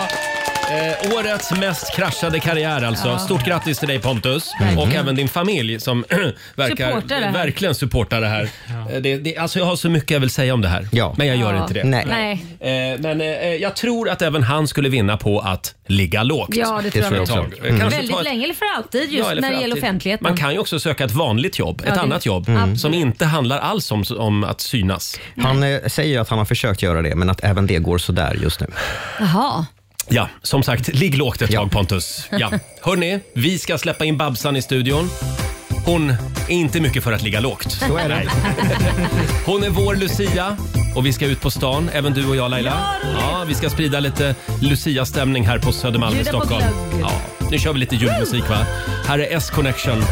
[SPEAKER 1] Eh, årets mest kraschade karriär alltså.
[SPEAKER 2] Ja.
[SPEAKER 1] Stort grattis till dig Pontus
[SPEAKER 7] Verkligen.
[SPEAKER 1] och även din familj som verkar
[SPEAKER 2] Supportar det här.
[SPEAKER 1] verkligen supportar det här. Eh, Det, det, alltså jag har så mycket jag vill säga om det här, men jag gör
[SPEAKER 2] Ja.
[SPEAKER 1] inte det.
[SPEAKER 2] Nej.
[SPEAKER 1] Eh, men eh, jag tror att även han skulle vinna på att ligga lågt.
[SPEAKER 2] Ja, det tror jag
[SPEAKER 1] Ett
[SPEAKER 2] också.
[SPEAKER 1] tag. Eh, kanske
[SPEAKER 2] Väldigt
[SPEAKER 1] ta ett-
[SPEAKER 2] länge eller för alltid just
[SPEAKER 1] Ja, eller
[SPEAKER 2] när
[SPEAKER 1] för
[SPEAKER 2] det gäller
[SPEAKER 1] alltid.
[SPEAKER 2] offentligheten.
[SPEAKER 1] Man kan ju också söka ett vanligt jobb,
[SPEAKER 2] Ja,
[SPEAKER 1] ett
[SPEAKER 2] det-
[SPEAKER 1] annat jobb
[SPEAKER 2] Mm.
[SPEAKER 1] som inte handlar alls om, om att synas.
[SPEAKER 7] Han eh, säger ju att han har försökt göra det, men att även det går sådär just nu.
[SPEAKER 2] Jaha.
[SPEAKER 1] Ja, som sagt, ligg lågt ett tag Pontus. Ja. Hörni, vi ska släppa in Babsan i studion. Hon är inte mycket för att ligga lågt.
[SPEAKER 12] Så är det.
[SPEAKER 1] Nej. Hon är vår Lucia och vi ska ut på stan, även du och jag Laila. Ja, vi ska sprida lite Lucia-stämning här på Södermalm i
[SPEAKER 12] Bjuda på
[SPEAKER 1] Stockholm.
[SPEAKER 12] glögg.
[SPEAKER 1] Ja, nu kör vi lite julmusik va? Här är S-Connection.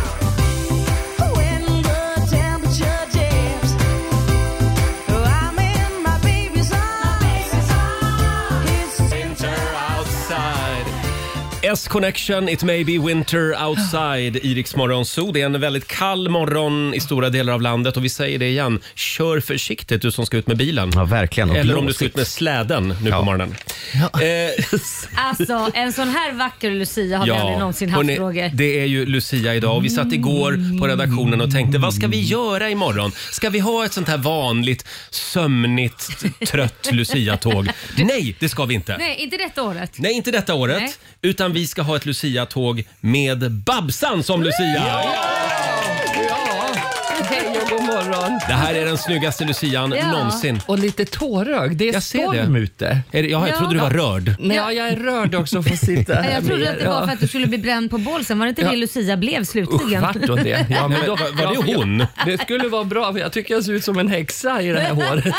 [SPEAKER 1] Yes Connection, It May Be Winter Outside i Rix Morgon Zoo. Det är en väldigt kall morgon i stora delar av landet och vi säger det igen. Kör försiktigt du som ska ut med bilen. Ja,
[SPEAKER 7] verkligen. Och
[SPEAKER 1] Eller om du
[SPEAKER 7] blåsigt.
[SPEAKER 1] ska ut med släden nu på morgonen.
[SPEAKER 2] Alltså en sån här vacker lucia har vi aldrig någonsin haft
[SPEAKER 1] hörni,
[SPEAKER 2] Roger.
[SPEAKER 1] det är ju Lucia idag och vi satt igår på redaktionen och tänkte vad ska vi göra imorgon? Ska vi ha ett sånt här vanligt sömnigt trött Lucia-tåg? Nej, det ska vi inte.
[SPEAKER 2] Nej, inte detta året.
[SPEAKER 1] Nej, inte detta året.
[SPEAKER 2] Nej.
[SPEAKER 1] Utan vi ska ha ett Lucia-tåg med Babsan som Lucia.
[SPEAKER 12] Hej och god morgon.
[SPEAKER 1] Det här är den snyggaste lucian någonsin.
[SPEAKER 12] Och lite tårögd. Det är
[SPEAKER 1] Jag ser
[SPEAKER 12] storm
[SPEAKER 1] det.
[SPEAKER 12] ute.
[SPEAKER 1] Är det- jaha, jag trodde du var rörd.
[SPEAKER 12] Nej, ja, jag är rörd också för att sitta här
[SPEAKER 2] Nej, jag trodde
[SPEAKER 12] med
[SPEAKER 2] att
[SPEAKER 12] er.
[SPEAKER 2] det var
[SPEAKER 12] Ja.
[SPEAKER 2] för att du skulle bli bränd på bålsen. Var det inte
[SPEAKER 12] Ja.
[SPEAKER 2] det Lucia blev slutligen?
[SPEAKER 12] Usch, vart då det? Ja, men då-
[SPEAKER 1] var det hon?
[SPEAKER 12] Det skulle vara bra, för jag tycker jag ser ut som en häxa i det här håret.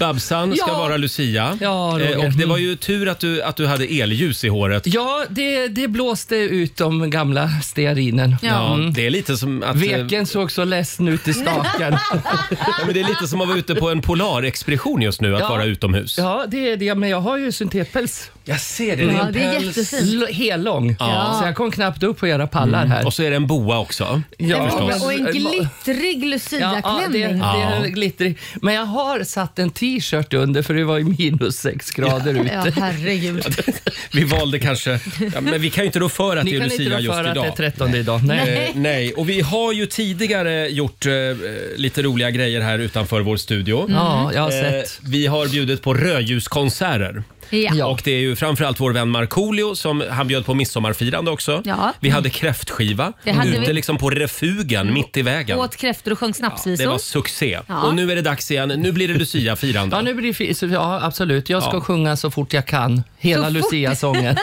[SPEAKER 1] Babsan ska
[SPEAKER 12] Ja.
[SPEAKER 1] vara Lucia.
[SPEAKER 12] Ja, Roger. Mm.
[SPEAKER 1] Eh, och det var ju tur att du, att du hade elljus i håret.
[SPEAKER 12] Ja, det, det blåste ut de gamla stearinen.
[SPEAKER 1] Ja,
[SPEAKER 12] Mm.
[SPEAKER 1] det är lite som att... eh,
[SPEAKER 12] Veken såg så ledsen ut i staken.
[SPEAKER 1] Ja, men det är lite som att vara ute på en polarexpedition just nu, att
[SPEAKER 12] Ja.
[SPEAKER 1] vara utomhus.
[SPEAKER 12] Ja, det är det. Men jag har ju syntetpäls.
[SPEAKER 1] Jag ser
[SPEAKER 12] det. Ja, det är jättefint. Hellång.
[SPEAKER 1] Ja.
[SPEAKER 12] Så jag kom knappt upp på era pallar
[SPEAKER 2] Mm.
[SPEAKER 12] här.
[SPEAKER 1] Och så är det en boa också.
[SPEAKER 12] Ja,
[SPEAKER 1] förstås.
[SPEAKER 12] men-
[SPEAKER 2] Och en glittrig
[SPEAKER 12] Ja, ja, det, det
[SPEAKER 2] Lucia-klänning.
[SPEAKER 12] är glittrig. Men jag har satt en t-shirt under för det var ju minus sex grader
[SPEAKER 2] Ja,
[SPEAKER 12] ute.
[SPEAKER 2] herregud.
[SPEAKER 1] Vi valde kanske... Ja, men vi kan ju inte rå för att
[SPEAKER 12] Ni
[SPEAKER 1] det är
[SPEAKER 12] kan inte
[SPEAKER 1] Lucia
[SPEAKER 12] rå
[SPEAKER 1] just
[SPEAKER 12] för att
[SPEAKER 1] idag.
[SPEAKER 12] det är 13 idag. Nej.
[SPEAKER 1] Eh, nej, och vi har ju tidigare gjort eh, lite roliga grejer här utanför vår studio.
[SPEAKER 2] Mm.
[SPEAKER 12] Ja, jag har
[SPEAKER 1] Eh,
[SPEAKER 12] sett.
[SPEAKER 1] vi har bjudit på rödljuskonserter.
[SPEAKER 2] Ja.
[SPEAKER 1] Och det är ju framförallt vår vän Markoolio som han bjöd på midsommarfirande också.
[SPEAKER 2] Ja.
[SPEAKER 1] Vi hade kräftskiva
[SPEAKER 2] Det hade
[SPEAKER 1] ute
[SPEAKER 2] vi. Mm.
[SPEAKER 1] liksom på refugen mitt i vägen.
[SPEAKER 2] Åt kräftor och sjöng snapsvisor.
[SPEAKER 1] Det var succé.
[SPEAKER 2] Ja.
[SPEAKER 1] Och nu är det dags igen. Nu blir det Lucia-firande.
[SPEAKER 12] Ja, nu blir det, fi- så- ja, absolut. Jag ska
[SPEAKER 1] Ja.
[SPEAKER 12] sjunga så fort jag kan. Hela
[SPEAKER 1] Så fort?
[SPEAKER 12] Lucia-sången.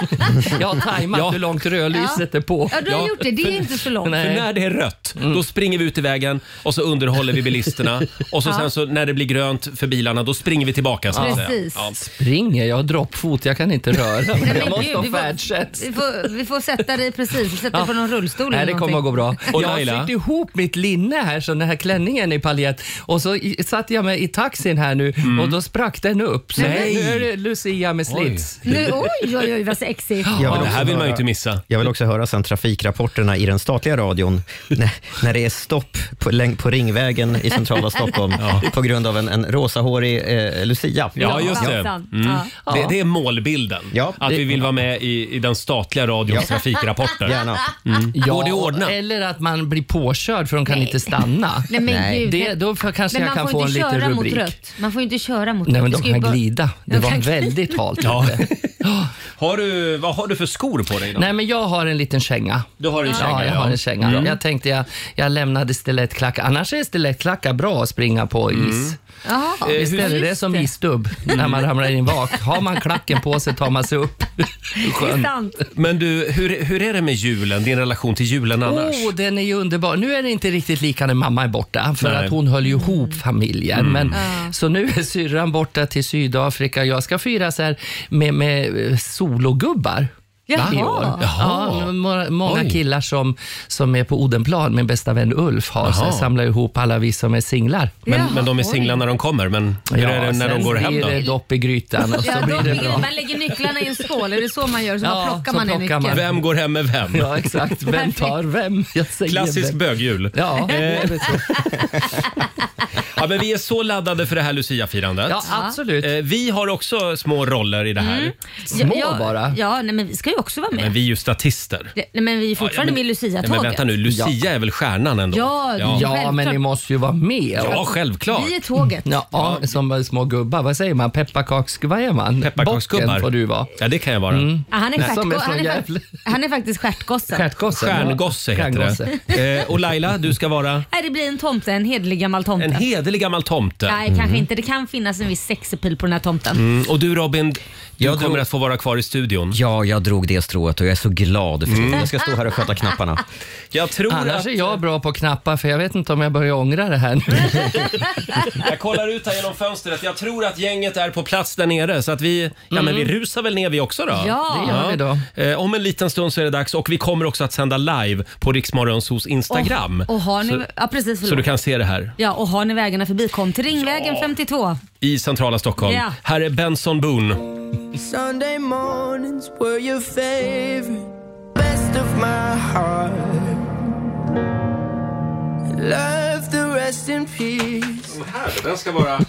[SPEAKER 12] Jag har tajmat
[SPEAKER 1] Ja.
[SPEAKER 12] hur långt rödlyset är på.
[SPEAKER 2] Ja, du har gjort det. Det är inte så långt.
[SPEAKER 1] För när det är rött,
[SPEAKER 2] Mm.
[SPEAKER 1] då springer vi ut i vägen och så underhåller vi bilisterna. Och så
[SPEAKER 2] Ja.
[SPEAKER 1] sen så när det blir grönt för bilarna, då springer vi tillbaka. Så att säga.
[SPEAKER 2] Precis.
[SPEAKER 12] Springer? Jag har droppfot. Jag kan inte röra
[SPEAKER 2] Nej,
[SPEAKER 12] mig.
[SPEAKER 2] men
[SPEAKER 12] Jag måste
[SPEAKER 2] gud,
[SPEAKER 12] ha
[SPEAKER 2] vi får-
[SPEAKER 12] färdtjänst.
[SPEAKER 2] Vi får, vi får sätta dig precis, sätta dig på någon rullstol
[SPEAKER 12] Nej,
[SPEAKER 2] eller
[SPEAKER 12] det kommer att gå
[SPEAKER 2] någonting.
[SPEAKER 12] bra.
[SPEAKER 1] Och
[SPEAKER 12] jag
[SPEAKER 1] Laila?
[SPEAKER 12] sytt ihop mitt linne här, så den här klänningen i paljett. Och så i- satte jag mig i taxin här nu
[SPEAKER 2] Mm.
[SPEAKER 12] och då sprack den upp. Så
[SPEAKER 1] Nej.
[SPEAKER 12] nu är det Lucia med slits.
[SPEAKER 2] Nu, oj, oj, oj vad sexigt.
[SPEAKER 7] Jag också höra-
[SPEAKER 1] missa.
[SPEAKER 7] Jag vill också höra sen trafikrapporterna i den statliga radion när, när det är stopp på, läng- på Ringvägen i centrala Stockholm på grund av en, en rosahårig eh, Lucia.
[SPEAKER 1] Ja, just det. Mm.
[SPEAKER 7] Ja.
[SPEAKER 1] det. Det är målbilden.
[SPEAKER 7] Ja.
[SPEAKER 1] Att vi vill vara med i, i den statliga radions
[SPEAKER 7] Ja.
[SPEAKER 1] trafikrapporter.
[SPEAKER 7] Gärna.
[SPEAKER 1] Mm.
[SPEAKER 12] Ja,
[SPEAKER 1] Går det att ordna?
[SPEAKER 12] Eller att man blir påkörd för de kan inte stanna.
[SPEAKER 2] Nej, men Nej. gud.
[SPEAKER 12] Det, då får- kanske
[SPEAKER 2] Men
[SPEAKER 12] jag
[SPEAKER 2] man
[SPEAKER 12] kan
[SPEAKER 2] får
[SPEAKER 12] få en
[SPEAKER 2] inte
[SPEAKER 12] liten
[SPEAKER 2] köra
[SPEAKER 12] rubrik.
[SPEAKER 2] mot rött. Man får inte köra mot
[SPEAKER 12] Nej,
[SPEAKER 2] rött.
[SPEAKER 12] men
[SPEAKER 2] Det
[SPEAKER 12] de
[SPEAKER 2] ska ju
[SPEAKER 12] kan
[SPEAKER 2] bara-
[SPEAKER 12] glida. Det
[SPEAKER 2] De
[SPEAKER 12] var
[SPEAKER 2] kan-
[SPEAKER 12] väldigt halt
[SPEAKER 1] Ja.
[SPEAKER 12] ute.
[SPEAKER 1] Har du, vad har du för skor på dig? Då?
[SPEAKER 12] Nej, men jag har en liten känga.
[SPEAKER 1] Du har en känga,
[SPEAKER 12] Ja, jag
[SPEAKER 1] ja.
[SPEAKER 12] har en känga.
[SPEAKER 1] Mm.
[SPEAKER 12] Jag tänkte jag, jag lämnade stilettklackar. Annars är stilettklackar bra att springa på is.
[SPEAKER 2] Jaha.
[SPEAKER 12] Eh, Visst är det det som isstubb när man ramlar in bak. Har man klacken på sig tar man sig upp.
[SPEAKER 2] Det är sant.
[SPEAKER 1] Men du, hur, hur är det med julen? Din relation till julen annars?
[SPEAKER 12] Oh, den är ju underbar. Nu är det inte riktigt lika när mamma är borta, för
[SPEAKER 1] Nej. Mm.
[SPEAKER 12] att hon höll ju ihop familjen. Men, Så nu är syrran borta till Sydafrika. Jag ska fira så här med, med eh, sologubbar.
[SPEAKER 2] Jaha.
[SPEAKER 12] I år.
[SPEAKER 1] Jaha.
[SPEAKER 12] Ja, må- många
[SPEAKER 1] Oj.
[SPEAKER 12] killar som, som är på Odenplan, min bästa vän Ulf, har så här,
[SPEAKER 1] Jaha.
[SPEAKER 12] samlar ihop alla vi som är singlar.
[SPEAKER 1] Men, men de är singlar när de kommer, men hur är det när
[SPEAKER 12] sen
[SPEAKER 1] de går hem
[SPEAKER 12] blir
[SPEAKER 1] då?
[SPEAKER 12] det dopp i grytan och så
[SPEAKER 2] Ja,
[SPEAKER 12] blir
[SPEAKER 2] de,
[SPEAKER 12] det bra.
[SPEAKER 2] man lägger nycklarna i en skål, är det så man gör? Så
[SPEAKER 12] Ja,
[SPEAKER 2] bara plockar
[SPEAKER 12] så
[SPEAKER 2] man en
[SPEAKER 12] plockar
[SPEAKER 2] nyckel.
[SPEAKER 12] man.
[SPEAKER 1] Vem går hem med vem?
[SPEAKER 12] Ja, exakt. Vem tar vem? Jag säger
[SPEAKER 1] Klassisk
[SPEAKER 12] vem.
[SPEAKER 1] bögjul. Eh,
[SPEAKER 12] Ja, det är väl så.
[SPEAKER 1] Ja, men vi är så laddade för det här Lucia-firandet.
[SPEAKER 12] ja, absolut.
[SPEAKER 1] Eh, Vi har också små roller i det här.
[SPEAKER 2] Mm.
[SPEAKER 12] Små
[SPEAKER 2] Ja, ja,
[SPEAKER 12] bara.
[SPEAKER 2] Ja, nej, men vi ska ju också vara med.
[SPEAKER 1] Men vi är ju statister.
[SPEAKER 2] Det- Nej, men vi är fortfarande
[SPEAKER 1] Ja,
[SPEAKER 2] med i
[SPEAKER 1] Nej, men vänta
[SPEAKER 2] Lucia-tåget.
[SPEAKER 1] nu, Lucia är väl stjärnan ändå?
[SPEAKER 2] Ja,
[SPEAKER 12] Ja,
[SPEAKER 2] Självklart.
[SPEAKER 12] men ni måste ju vara med.
[SPEAKER 1] Ja, självklart.
[SPEAKER 2] Vi är tåget.
[SPEAKER 12] Ja, som små gubbar. Vad säger man? Pepparkaks... Vad är man?
[SPEAKER 1] Pepparkaksgubbar.
[SPEAKER 12] Bocken får du vara.
[SPEAKER 1] Ja, det kan jag vara.
[SPEAKER 2] Ja, han, är
[SPEAKER 12] Nej,
[SPEAKER 2] stjärtgo-
[SPEAKER 12] som är från
[SPEAKER 2] han, är
[SPEAKER 12] Gävle.
[SPEAKER 2] fakt- han är faktiskt stjärtgossen.
[SPEAKER 12] Stjärtgosse.
[SPEAKER 1] Stjärngosse heter det. Eh, och Laila, du ska vara
[SPEAKER 2] Nej, det blir en tomte, en hederlig gammal tomte.
[SPEAKER 1] en hederlig gammal tomte.
[SPEAKER 2] Nej, kanske inte. Det kan finnas en viss sexepil på den här tomten.
[SPEAKER 1] Mm, och du Robin, du
[SPEAKER 7] Jag
[SPEAKER 1] kommer
[SPEAKER 7] drog-
[SPEAKER 1] att få vara kvar i studion.
[SPEAKER 7] Ja, jag drog det strået och jag är så glad för det. Jag ska stå här och sköta knapparna.
[SPEAKER 1] Jag tror att...
[SPEAKER 12] Mm. Annars är jag bra på knappar för jag vet inte om jag börjar ångra det här nu.
[SPEAKER 1] Jag kollar ut här genom fönstret. Jag tror att gänget är på plats där nere. Så att vi, ja, men vi rusar väl ner vi också då.
[SPEAKER 2] Mm. Ja. Det gör
[SPEAKER 12] vi då.
[SPEAKER 1] Eh, om en liten stund så är det dags och vi kommer också att sända live på Riksmorgons hos Instagram.
[SPEAKER 2] Och, och har ni,
[SPEAKER 1] så,
[SPEAKER 2] ja, precis,
[SPEAKER 1] så
[SPEAKER 2] förlåt.
[SPEAKER 1] du kan se det här
[SPEAKER 2] Ja, och har ni vägarna förbi, kom till Ringvägen 52.
[SPEAKER 1] i centrala Stockholm.
[SPEAKER 2] Ja.
[SPEAKER 1] Här är Benson Boone.
[SPEAKER 13] Sunday mornings were your favorite, best of my heart. Love the rest in peace.
[SPEAKER 1] Oh, Den ska vara...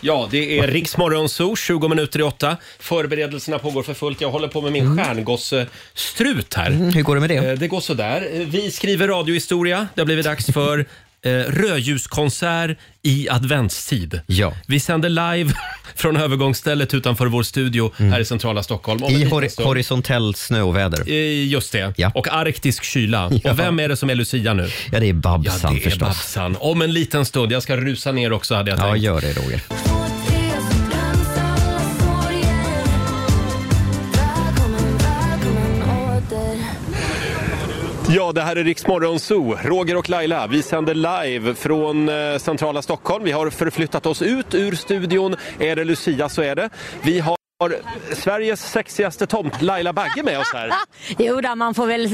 [SPEAKER 1] Ja, det är Riksmorgon Zoo, 20 minuter i åtta. Förberedelserna pågår för fullt. Jag håller på med min stjärngossestrut här.
[SPEAKER 7] Mm. hur går det med det?
[SPEAKER 1] Det går sådär. Eh, Vi skriver radiohistoria. Det har blivit dags för eh, rödljuskonsert i adventstid.
[SPEAKER 7] Ja.
[SPEAKER 1] Vi sänder live från övergångsstället utanför vår studio här i centrala Stockholm. Om en
[SPEAKER 7] Mm. I
[SPEAKER 1] liten
[SPEAKER 7] hori-
[SPEAKER 1] stund.
[SPEAKER 7] horisontellt snöoväder.
[SPEAKER 1] Eh, Just det. Och arktisk kyla.
[SPEAKER 7] Ja.
[SPEAKER 1] Och vem är det som är Lucia nu?
[SPEAKER 7] Ja, det är Babsan
[SPEAKER 1] ja, det är
[SPEAKER 7] förstås.
[SPEAKER 1] Babsan. Om en liten stund. Jag ska rusa ner också hade jag
[SPEAKER 7] Ja,
[SPEAKER 1] tänkt.
[SPEAKER 7] gör det Roger.
[SPEAKER 1] Ja, det här är Riksmorgon Zoo. Roger och Laila, vi sänder live från eh, centrala Stockholm. Vi har förflyttat oss ut ur studion. Är det Lucia så är det. Vi har Sveriges sexigaste tomt, Laila Bagge, med oss här.
[SPEAKER 14] Jo då, man får väl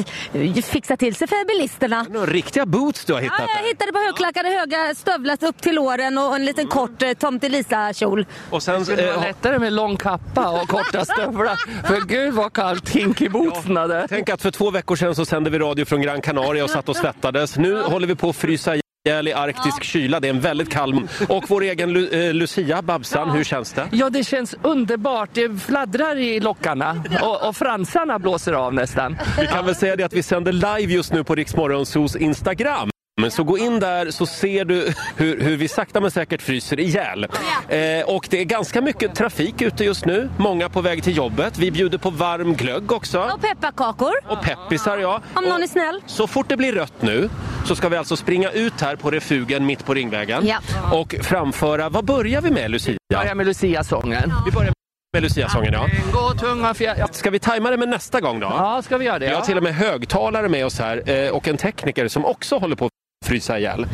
[SPEAKER 14] fixa till sig för bilisterna.
[SPEAKER 1] Några riktiga boots du har hittat
[SPEAKER 14] Ja,
[SPEAKER 1] här.
[SPEAKER 14] jag hittade på högklackade höga stövlar upp till låren och en liten kort eh, Tomte Lisa-kjol.
[SPEAKER 1] Och sen... eh,
[SPEAKER 12] Det var lättare med lång kappa och korta stövlar. För gud vad kallt Hinky-bootsen där.
[SPEAKER 1] Tänk att för två veckor sedan så sände vi radio från Gran Canaria och satt och svettades. Nu håller vi på att frysa ihjäl i arktisk kyla. Det är en väldigt kall... Och vår egen Lu eh, Lucia, Babsan, hur känns det?
[SPEAKER 12] Ja, det känns underbart. Det fladdrar i lockarna och, och fransarna blåser av nästan.
[SPEAKER 1] Vi kan väl säga det att vi sänder live just nu på Riksmorgonsos Instagram. Men så gå in där så ser du hur, hur vi sakta men säkert fryser ihjäl. Eh, och det är ganska mycket trafik ute just nu. Många på väg till jobbet. Vi bjuder på varm glögg också.
[SPEAKER 14] Och pepparkakor.
[SPEAKER 1] Och peppisar ja.
[SPEAKER 14] Om någon
[SPEAKER 1] Och
[SPEAKER 14] är snäll.
[SPEAKER 1] Så fort det blir rött nu så ska vi alltså springa ut här på refugen mitt på Ringvägen
[SPEAKER 14] Ja.
[SPEAKER 1] och framföra, vad börjar vi med Lucia? Vi börjar
[SPEAKER 12] med Lucia-sången.
[SPEAKER 1] Vi börjar med Lucia-sången ja.
[SPEAKER 12] Gå tunga fjärilar.
[SPEAKER 1] Ska vi tajma det med nästa gång då?
[SPEAKER 12] Ja, ska vi göra det?
[SPEAKER 1] Vi har
[SPEAKER 12] Ja.
[SPEAKER 1] till och med högtalare med oss här eh, och en tekniker som också håller på att frysa ihjäl.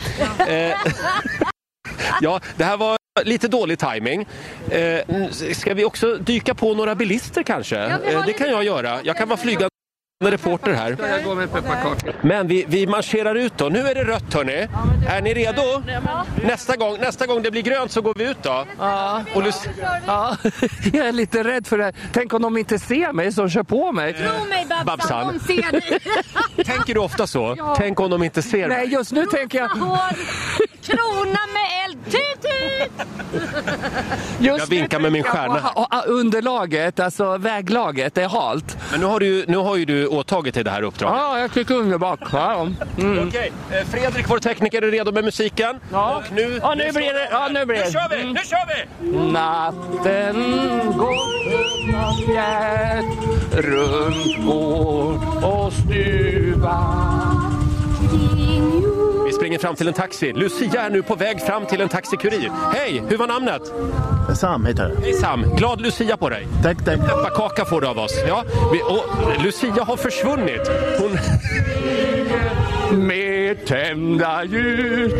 [SPEAKER 1] Eh, ja, det här var lite dålig timing. Eh, n- Ska vi också dyka på några bilister kanske?
[SPEAKER 12] vi har
[SPEAKER 1] Eh, Det kan jag göra. Jag kan vara flygande reporter här.
[SPEAKER 12] Jag går med pepparkakor.
[SPEAKER 1] Men vi, vi marscherar ut då. Nu är det rött hörni. Är ni redo? Nästa gång, nästa gång det blir grönt så går vi ut då.
[SPEAKER 12] Ja.
[SPEAKER 1] Och Luc-
[SPEAKER 12] ja, jag är lite rädd för det här. Tänk om de inte ser mig som kör på mig.
[SPEAKER 1] Tro mig, Babsan, Eh, Babsan. de
[SPEAKER 14] ser dig.
[SPEAKER 1] Tänker du ofta så?
[SPEAKER 14] Ja.
[SPEAKER 1] Tänk om de inte ser mig.
[SPEAKER 12] Nej, just nu tänker jag...
[SPEAKER 14] Krona med eld.
[SPEAKER 2] Typ,
[SPEAKER 14] Tut, tut!
[SPEAKER 1] Jag vinkar med min stjärna.
[SPEAKER 12] Och, ah, och, underlaget, alltså väglaget, är halt.
[SPEAKER 1] Men nu har du, nu har ju du åtagit dig det här uppdraget.
[SPEAKER 12] Ja, jag tycker underbart. Ja. Mm.
[SPEAKER 1] Okej, eh, Fredrik, vår tekniker, är redo med musiken. Ja. Och nu...
[SPEAKER 12] Ja, nu blir det- ja, nu blir det. Mm.
[SPEAKER 1] Nu kör vi! Nu kör vi!
[SPEAKER 12] Natten går tunga fjät runt gård och stuva
[SPEAKER 1] Vi springer fram till en taxi. Lucia är nu på väg fram till en taxikurir. Hej, hur var namnet?
[SPEAKER 15] Sam heter jag.
[SPEAKER 1] Hej Sam, glad Lucia på dig.
[SPEAKER 15] Tack, tack.
[SPEAKER 1] Pepparkaka får du av oss. Ja, vi, och Lucia har försvunnit. Hon...
[SPEAKER 12] med tända ljus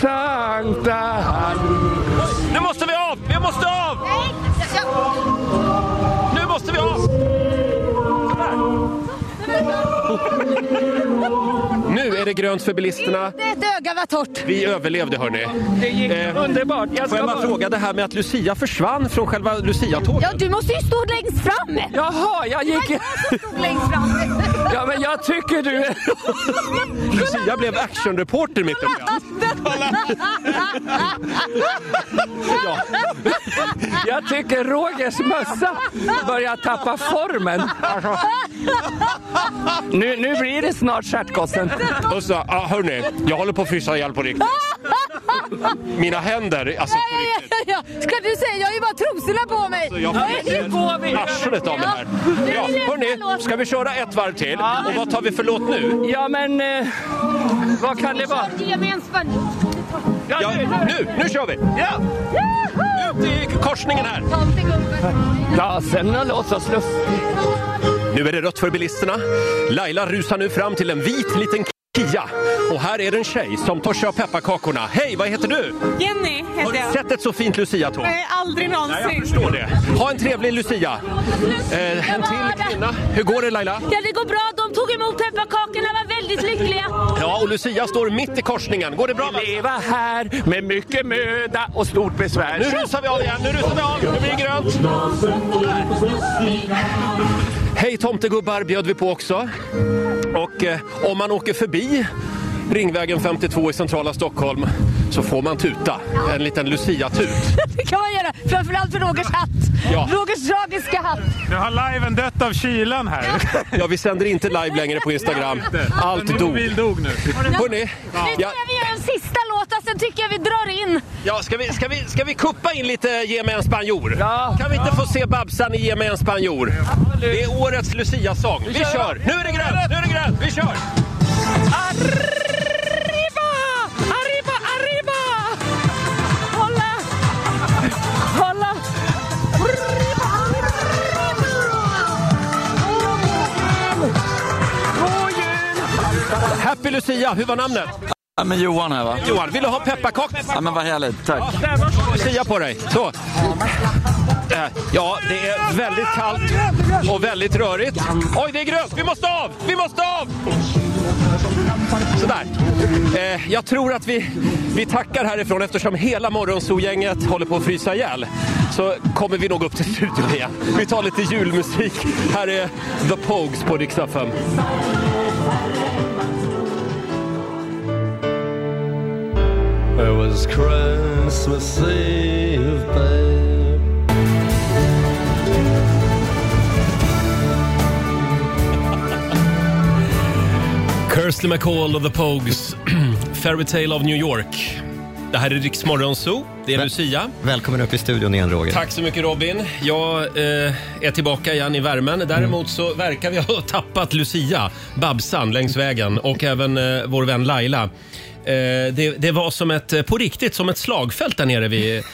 [SPEAKER 12] Sankta Hans.
[SPEAKER 1] Nu måste vi av! Vi måste av! Nu måste vi av! Nu är det grönt för bilisterna.
[SPEAKER 14] Inte ett öga var torrt.
[SPEAKER 1] Vi överlevde hörni.
[SPEAKER 12] Det gick underbart.
[SPEAKER 1] Jag
[SPEAKER 12] Jag
[SPEAKER 1] får
[SPEAKER 12] ska
[SPEAKER 1] jag bara
[SPEAKER 12] bara-
[SPEAKER 1] fråga det här med att Lucia försvann från själva Lucia-tåget?
[SPEAKER 14] Ja, du måste ju stå längst fram.
[SPEAKER 12] Jaha, jag gick...
[SPEAKER 14] Stå längst fram.
[SPEAKER 12] Ja, men jag tycker du...
[SPEAKER 1] Lucia blev actionreporter mitt uppe i allt.
[SPEAKER 12] Ja. Jag tycker Rogers mössa börjar tappa formen. Nu, nu blir det snart stjärtgossen.
[SPEAKER 1] Och så, ah, hörni, jag håller på att frysa ihjäl på riktigt. Mina händer, alltså på riktigt.
[SPEAKER 14] Ska du säga, jag har ju bara trosorna på mig.
[SPEAKER 1] Så Alltså, jag får arslet av det här. Ja, hörni, ska vi köra ett varv till? Och vad tar vi för låt nu?
[SPEAKER 12] Ja, men... Eh, vad kan det vara?
[SPEAKER 14] Ge mig en spänn.
[SPEAKER 1] Ja, nu, nu kör vi! Ja! Ut i korsningen här.
[SPEAKER 12] Dasen låter sluss.
[SPEAKER 1] Nu är det rött för bilisterna. Laila rusar nu fram till en vit liten Kia. Och här är det en tjej som tar sig av pepparkakorna. Hej, vad heter du?
[SPEAKER 16] Jenny
[SPEAKER 1] Har
[SPEAKER 16] heter
[SPEAKER 1] du
[SPEAKER 16] jag.
[SPEAKER 1] sett ett så fint Lucia-tåg?
[SPEAKER 16] Nej, aldrig någonsin.
[SPEAKER 1] Nej, jag förstår det. Ha en trevlig Lucia. Eh, en till kvinna. Hur går det Laila?
[SPEAKER 14] Ja, det går bra. De tog emot pepparkakorna, var
[SPEAKER 15] väldigt lyckliga.
[SPEAKER 1] Ja, och Lucia står mitt i korsningen. Går det bra? Vi leva här med mycket möda och stort besvär. Nu rusar vi av igen, nu rusar vi av. Nu blir det grönt. Hej tomtegubbar bjöd vi på också. Och eh, om man åker förbi Ringvägen 52 i centrala Stockholm så får man tuta. En liten Lucia-tut.
[SPEAKER 15] Det kan man göra, framförallt för Rogers hatt.
[SPEAKER 1] Ja.
[SPEAKER 15] Rogers tragiska hatt.
[SPEAKER 1] Nu har liven dött av kylan här. Ja, vi sänder inte live längre på Instagram. Allt dog. Min dog nu. Hörrni,
[SPEAKER 15] Nu tror
[SPEAKER 1] ja,
[SPEAKER 15] jag vi gör en sista låt, och sen tycker jag vi drar in.
[SPEAKER 1] ja, ska, vi, ska, vi, ska vi kuppa in lite Ge mig en spanjor? Kan vi inte få se Babsan i Ge mig en spanjor? Det är årets Lucia-sång. Vi kör! Nu är det grönt! Nu är det grönt! Vi kör!
[SPEAKER 15] Arriba! Arriba! Arriba! Hola! Hola!
[SPEAKER 1] Happy Lucia, hur var namnet?
[SPEAKER 16] Ja, men Johan här va?
[SPEAKER 1] Johan, vill du ha pepparkakor?
[SPEAKER 16] Ja men vad härligt, tack.
[SPEAKER 1] Lucia på dig. Så. Eh, Ja, det är väldigt kallt och väldigt rörigt. Oj, det är grönt! Vi måste av! Vi måste av! Sådär. Eh, jag tror att vi, vi tackar härifrån eftersom hela morgonzoo-gänget håller på att frysa ihjäl. Så kommer vi nog upp till studion igen. Vi tar lite julmusik. Här är The Pogues på Rix FM.
[SPEAKER 17] It was Christmas Eve, babe.
[SPEAKER 1] Kirsty MacColl och The Pogues, Fairy Tale of New York. Det här är Rix Morgonzoo, det är Lucia.
[SPEAKER 7] Välkommen upp i studion igen Roger.
[SPEAKER 1] Tack så mycket Robin. Jag eh, är tillbaka igen i värmen. Däremot så verkar vi ha tappat Lucia, Babsan, längs vägen och även eh, vår vän Laila. Eh, det, det var som ett, eh, på riktigt som ett slagfält där nere vid eh,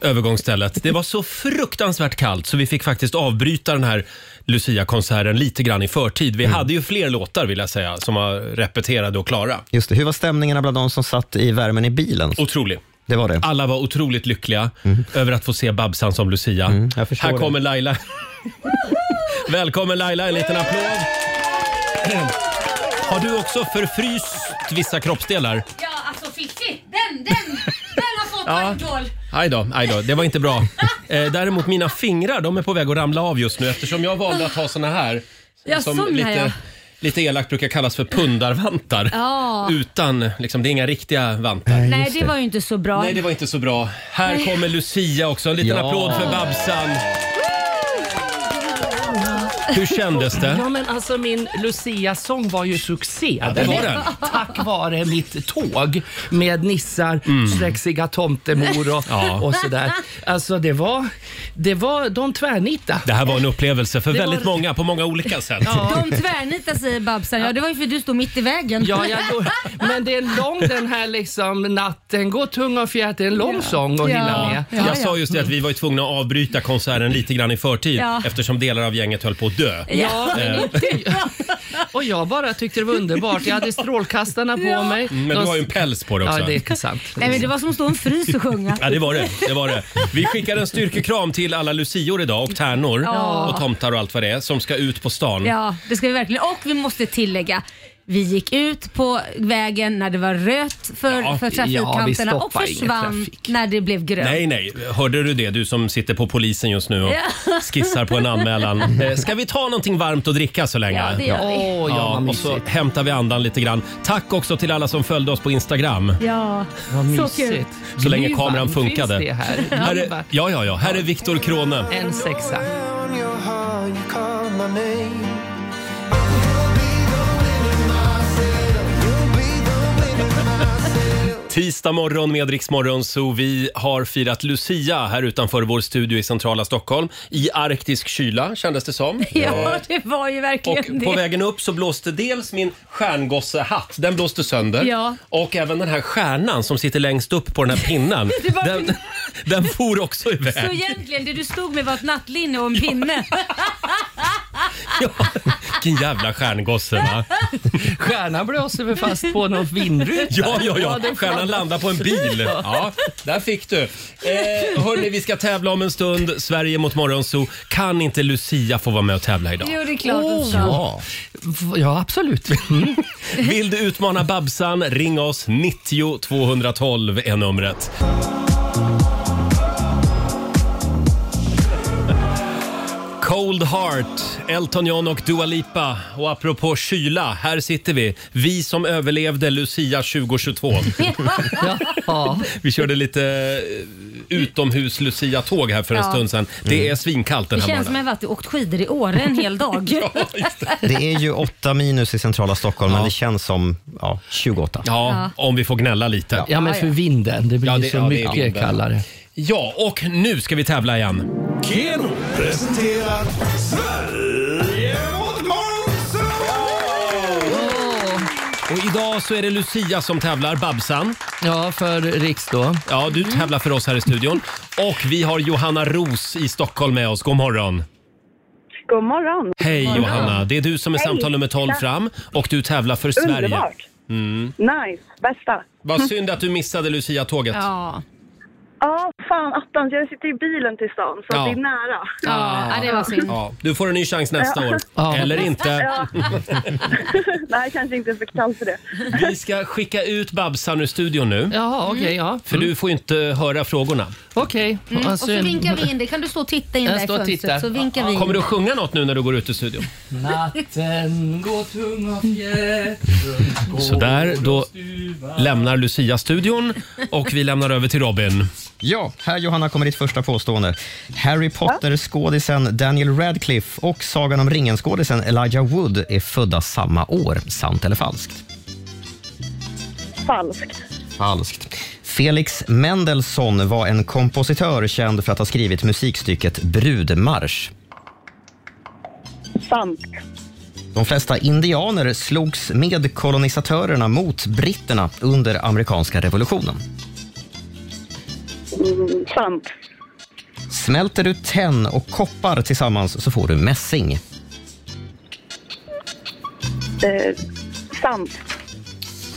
[SPEAKER 1] övergångsstället. Det var så fruktansvärt kallt så vi fick faktiskt avbryta den här Lucia-konserten lite grann i förtid. Vi hade ju fler låtar vill jag säga som var repeterade och klara.
[SPEAKER 7] Just det, hur var stämningarna bland de som satt i värmen i bilen?
[SPEAKER 1] Otrolig.
[SPEAKER 7] Det var det. Mhm.
[SPEAKER 1] Alla var otroligt lyckliga över att få se Babsan som Lucia. Här
[SPEAKER 7] Mm, det.
[SPEAKER 1] kommer Laila. Välkommen Laila, en liten applåd. Har du också förfryst vissa kroppsdelar?
[SPEAKER 2] Ja, alltså Fifi, den, den, den har fått
[SPEAKER 1] Ja.
[SPEAKER 2] alkohol.
[SPEAKER 1] Aj då, aj då, det var inte bra. Eh, däremot mina fingrar, de är på väg att ramla av just nu eftersom jag valde att ha såna här.
[SPEAKER 2] Ja, sån här, ja.
[SPEAKER 1] lite, lite elakt brukar kallas för pundarvantar.
[SPEAKER 2] Ja.
[SPEAKER 1] Utan, liksom, det är inga riktiga vantar.
[SPEAKER 2] Nej, det var ju inte så bra.
[SPEAKER 1] Nej, det var inte så bra. Här
[SPEAKER 2] Nej.
[SPEAKER 1] kommer Lucia också. En liten
[SPEAKER 12] Ja.
[SPEAKER 1] applåd för Babsan. Hur kändes det?
[SPEAKER 12] Ja, men alltså min Lucia-sång var ju succé.
[SPEAKER 1] Ja, det var den.
[SPEAKER 12] Tack vare mitt tåg med nissar, släxiga tomtemor och,
[SPEAKER 1] Ja.
[SPEAKER 12] och sådär. Alltså det var, det var, de tvärnita.
[SPEAKER 1] Det här var en upplevelse för
[SPEAKER 12] Det
[SPEAKER 1] väldigt
[SPEAKER 12] var-
[SPEAKER 1] många på många olika sätt.
[SPEAKER 2] De tvärnitar säger Babsan. Ja, det var ju för du stod mitt i vägen.
[SPEAKER 12] Ja, jag går, men det är lång den här liksom natten, går tunga och fjät. Det är en lång sång att hinna med.
[SPEAKER 1] Jag sa just det att vi var ju tvungna att avbryta konserten lite grann i förtid
[SPEAKER 12] Ja.
[SPEAKER 1] eftersom delar av gänget höll på att dö.
[SPEAKER 12] Ja,
[SPEAKER 1] Eh,
[SPEAKER 12] men inte jag. Och jag bara tyckte det var underbart. Jag hade strålkastarna på mig.
[SPEAKER 1] Men du har ju en päls på dig också.
[SPEAKER 12] Ja, det är sant.
[SPEAKER 2] Nej, men det var som att stå i en frys och sjunga.
[SPEAKER 1] Ja, det var det. det, var det. Vi skickar en styrkekram till alla lucior idag och tärnor
[SPEAKER 2] Ja.
[SPEAKER 1] och tomtar och allt vad det är som ska ut på stan.
[SPEAKER 2] Ja, det ska vi verkligen. Och vi måste tillägga, vi gick ut på vägen när det var rött för,
[SPEAKER 1] Ja,
[SPEAKER 2] för
[SPEAKER 1] ja, vi
[SPEAKER 2] trafikkanterna
[SPEAKER 1] stoppar
[SPEAKER 2] och
[SPEAKER 1] ingen
[SPEAKER 2] försvann när det blev grönt.
[SPEAKER 1] Nej, nej. Hörde du det? Du som sitter på polisen just nu och
[SPEAKER 2] Ja.
[SPEAKER 1] skissar på en anmälan. Eh, Ska vi ta någonting varmt att dricka så länge?
[SPEAKER 12] Ja, det gör vi. Åh, ja, vad
[SPEAKER 1] och så hämtar vi andan lite grann. Tack också till alla som följde oss på Instagram.
[SPEAKER 2] Ja,
[SPEAKER 12] Vad
[SPEAKER 2] så kul.
[SPEAKER 12] mysigt.
[SPEAKER 1] Så länge
[SPEAKER 12] Gud, vad
[SPEAKER 1] kameran
[SPEAKER 12] finns
[SPEAKER 1] funkade.
[SPEAKER 12] det här?
[SPEAKER 1] är, ja, ja, ja. Här är Viktor Krone.
[SPEAKER 12] En sexa.
[SPEAKER 1] Tisdag morgon med Rix Morgon, så vi har firat Lucia här utanför vår studio i centrala Stockholm. I arktisk kyla kändes det som.
[SPEAKER 2] Ja, det var ju verkligen
[SPEAKER 1] Och
[SPEAKER 2] det.
[SPEAKER 1] på vägen upp så blåste dels min stjärngossehatt, den blåste sönder.
[SPEAKER 2] Ja.
[SPEAKER 1] Och även den här stjärnan som sitter längst upp på den här pinnen,
[SPEAKER 2] Det var-
[SPEAKER 1] den, den for också iväg.
[SPEAKER 2] Så egentligen det du stod med var ett nattlinne och en pinne.
[SPEAKER 1] Vilken jävla stjärngosse va?
[SPEAKER 12] Stjärnan blåser väl fast på någon vindruta?
[SPEAKER 1] Ja, ja, ja.
[SPEAKER 12] den
[SPEAKER 1] Stjärnan
[SPEAKER 12] fan-
[SPEAKER 1] landar på en bil. Ja, där fick du. Eh, hörni, vi ska tävla om en stund. Sverige mot Morgonzoo. Kan inte Lucia få vara med och tävla idag?
[SPEAKER 2] Jo, det är klart
[SPEAKER 12] Åh,
[SPEAKER 2] oh,
[SPEAKER 12] ja. ja, absolut. Mm.
[SPEAKER 1] Vill du utmana Babsan, ring oss. 90 212 är numret. Cold Heart, Elton John och Dua Lipa. Och apropå kyla, här sitter vi. Vi som överlevde Lucia 2022.
[SPEAKER 12] Ja.
[SPEAKER 1] Vi körde lite eh, utomhus Lucia-tåg här för en
[SPEAKER 2] Ja. Mm.
[SPEAKER 1] stund sedan. Det är svinkallt den
[SPEAKER 2] Det
[SPEAKER 1] här
[SPEAKER 2] känns som
[SPEAKER 1] morgonen.
[SPEAKER 2] att jag varit och åkt skidor i Åre en hel dag.
[SPEAKER 7] Det är ju 8 minus i centrala Stockholm, men det känns som ja, 28.
[SPEAKER 1] Ja, om vi får gnälla lite.
[SPEAKER 12] Ah, Ja, men för vinden. Det blir
[SPEAKER 1] Ja,
[SPEAKER 12] ju
[SPEAKER 1] det-
[SPEAKER 12] så
[SPEAKER 1] ja, det är
[SPEAKER 12] mycket
[SPEAKER 1] vinden.
[SPEAKER 12] kallare.
[SPEAKER 1] Ja, och nu ska vi tävla igen.
[SPEAKER 4] Keno presenterar Sverige mot Morgonzoo!
[SPEAKER 1] Och idag så är det Lucia som tävlar, Babsan.
[SPEAKER 12] Ja, för Riks då.
[SPEAKER 1] Ja, du tävlar för oss här i studion. Och vi har Johanna Ros i Stockholm med oss. God morgon.
[SPEAKER 18] God morgon.
[SPEAKER 1] Hej
[SPEAKER 18] God morgon.
[SPEAKER 1] Johanna, det är du som är
[SPEAKER 18] Hej.
[SPEAKER 1] samtal nummer 12 fram och du tävlar för Sverige.
[SPEAKER 18] Underbart.
[SPEAKER 1] Mm.
[SPEAKER 18] Nice. Bästa.
[SPEAKER 1] Vad synd att du missade Lucia-tåget.
[SPEAKER 18] Ja. Ja, fan attans. Jag sitter i bilen till stan så
[SPEAKER 1] Ja.
[SPEAKER 18] det är nära.
[SPEAKER 1] Ja, du får en ny chans nästa
[SPEAKER 18] Ja.
[SPEAKER 1] år.
[SPEAKER 18] Ja.
[SPEAKER 1] Eller inte.
[SPEAKER 18] Ja. Nej, kanske inte är för kall för det.
[SPEAKER 1] Vi ska skicka ut Babsan ur studion nu.
[SPEAKER 12] Ja, okej, ja.
[SPEAKER 1] För
[SPEAKER 18] Mm.
[SPEAKER 1] du får inte höra frågorna.
[SPEAKER 12] Okej.
[SPEAKER 2] Mm. Och så vinkar vi in det. Kan du stå och titta in
[SPEAKER 12] Alltså, Jag
[SPEAKER 2] där i
[SPEAKER 12] står och tittar.
[SPEAKER 2] fönstret? Så vinkar vi in.
[SPEAKER 1] Kommer du att sjunga något nu när du går ut ur studion?
[SPEAKER 12] Natten går tung och fjädrung
[SPEAKER 1] Sådär, då lämnar Lucia studion och vi lämnar över till Robin.
[SPEAKER 7] Ja, här Johanna kommer ditt första påstående. Harry Potter-skådisen Daniel Radcliffe och Sagan om ringen-skådisen Elijah Wood är födda samma år. Sant eller falskt?
[SPEAKER 18] Falskt.
[SPEAKER 7] Falskt. Felix Mendelssohn var en kompositör känd för att ha skrivit musikstycket Brudmarsch.
[SPEAKER 18] Sant.
[SPEAKER 7] De flesta indianer slogs med kolonisatörerna mot britterna under amerikanska revolutionen.
[SPEAKER 18] Mm, sant.
[SPEAKER 7] Smälter du tenn och koppar tillsammans så får du mässing.
[SPEAKER 18] Eh, sant.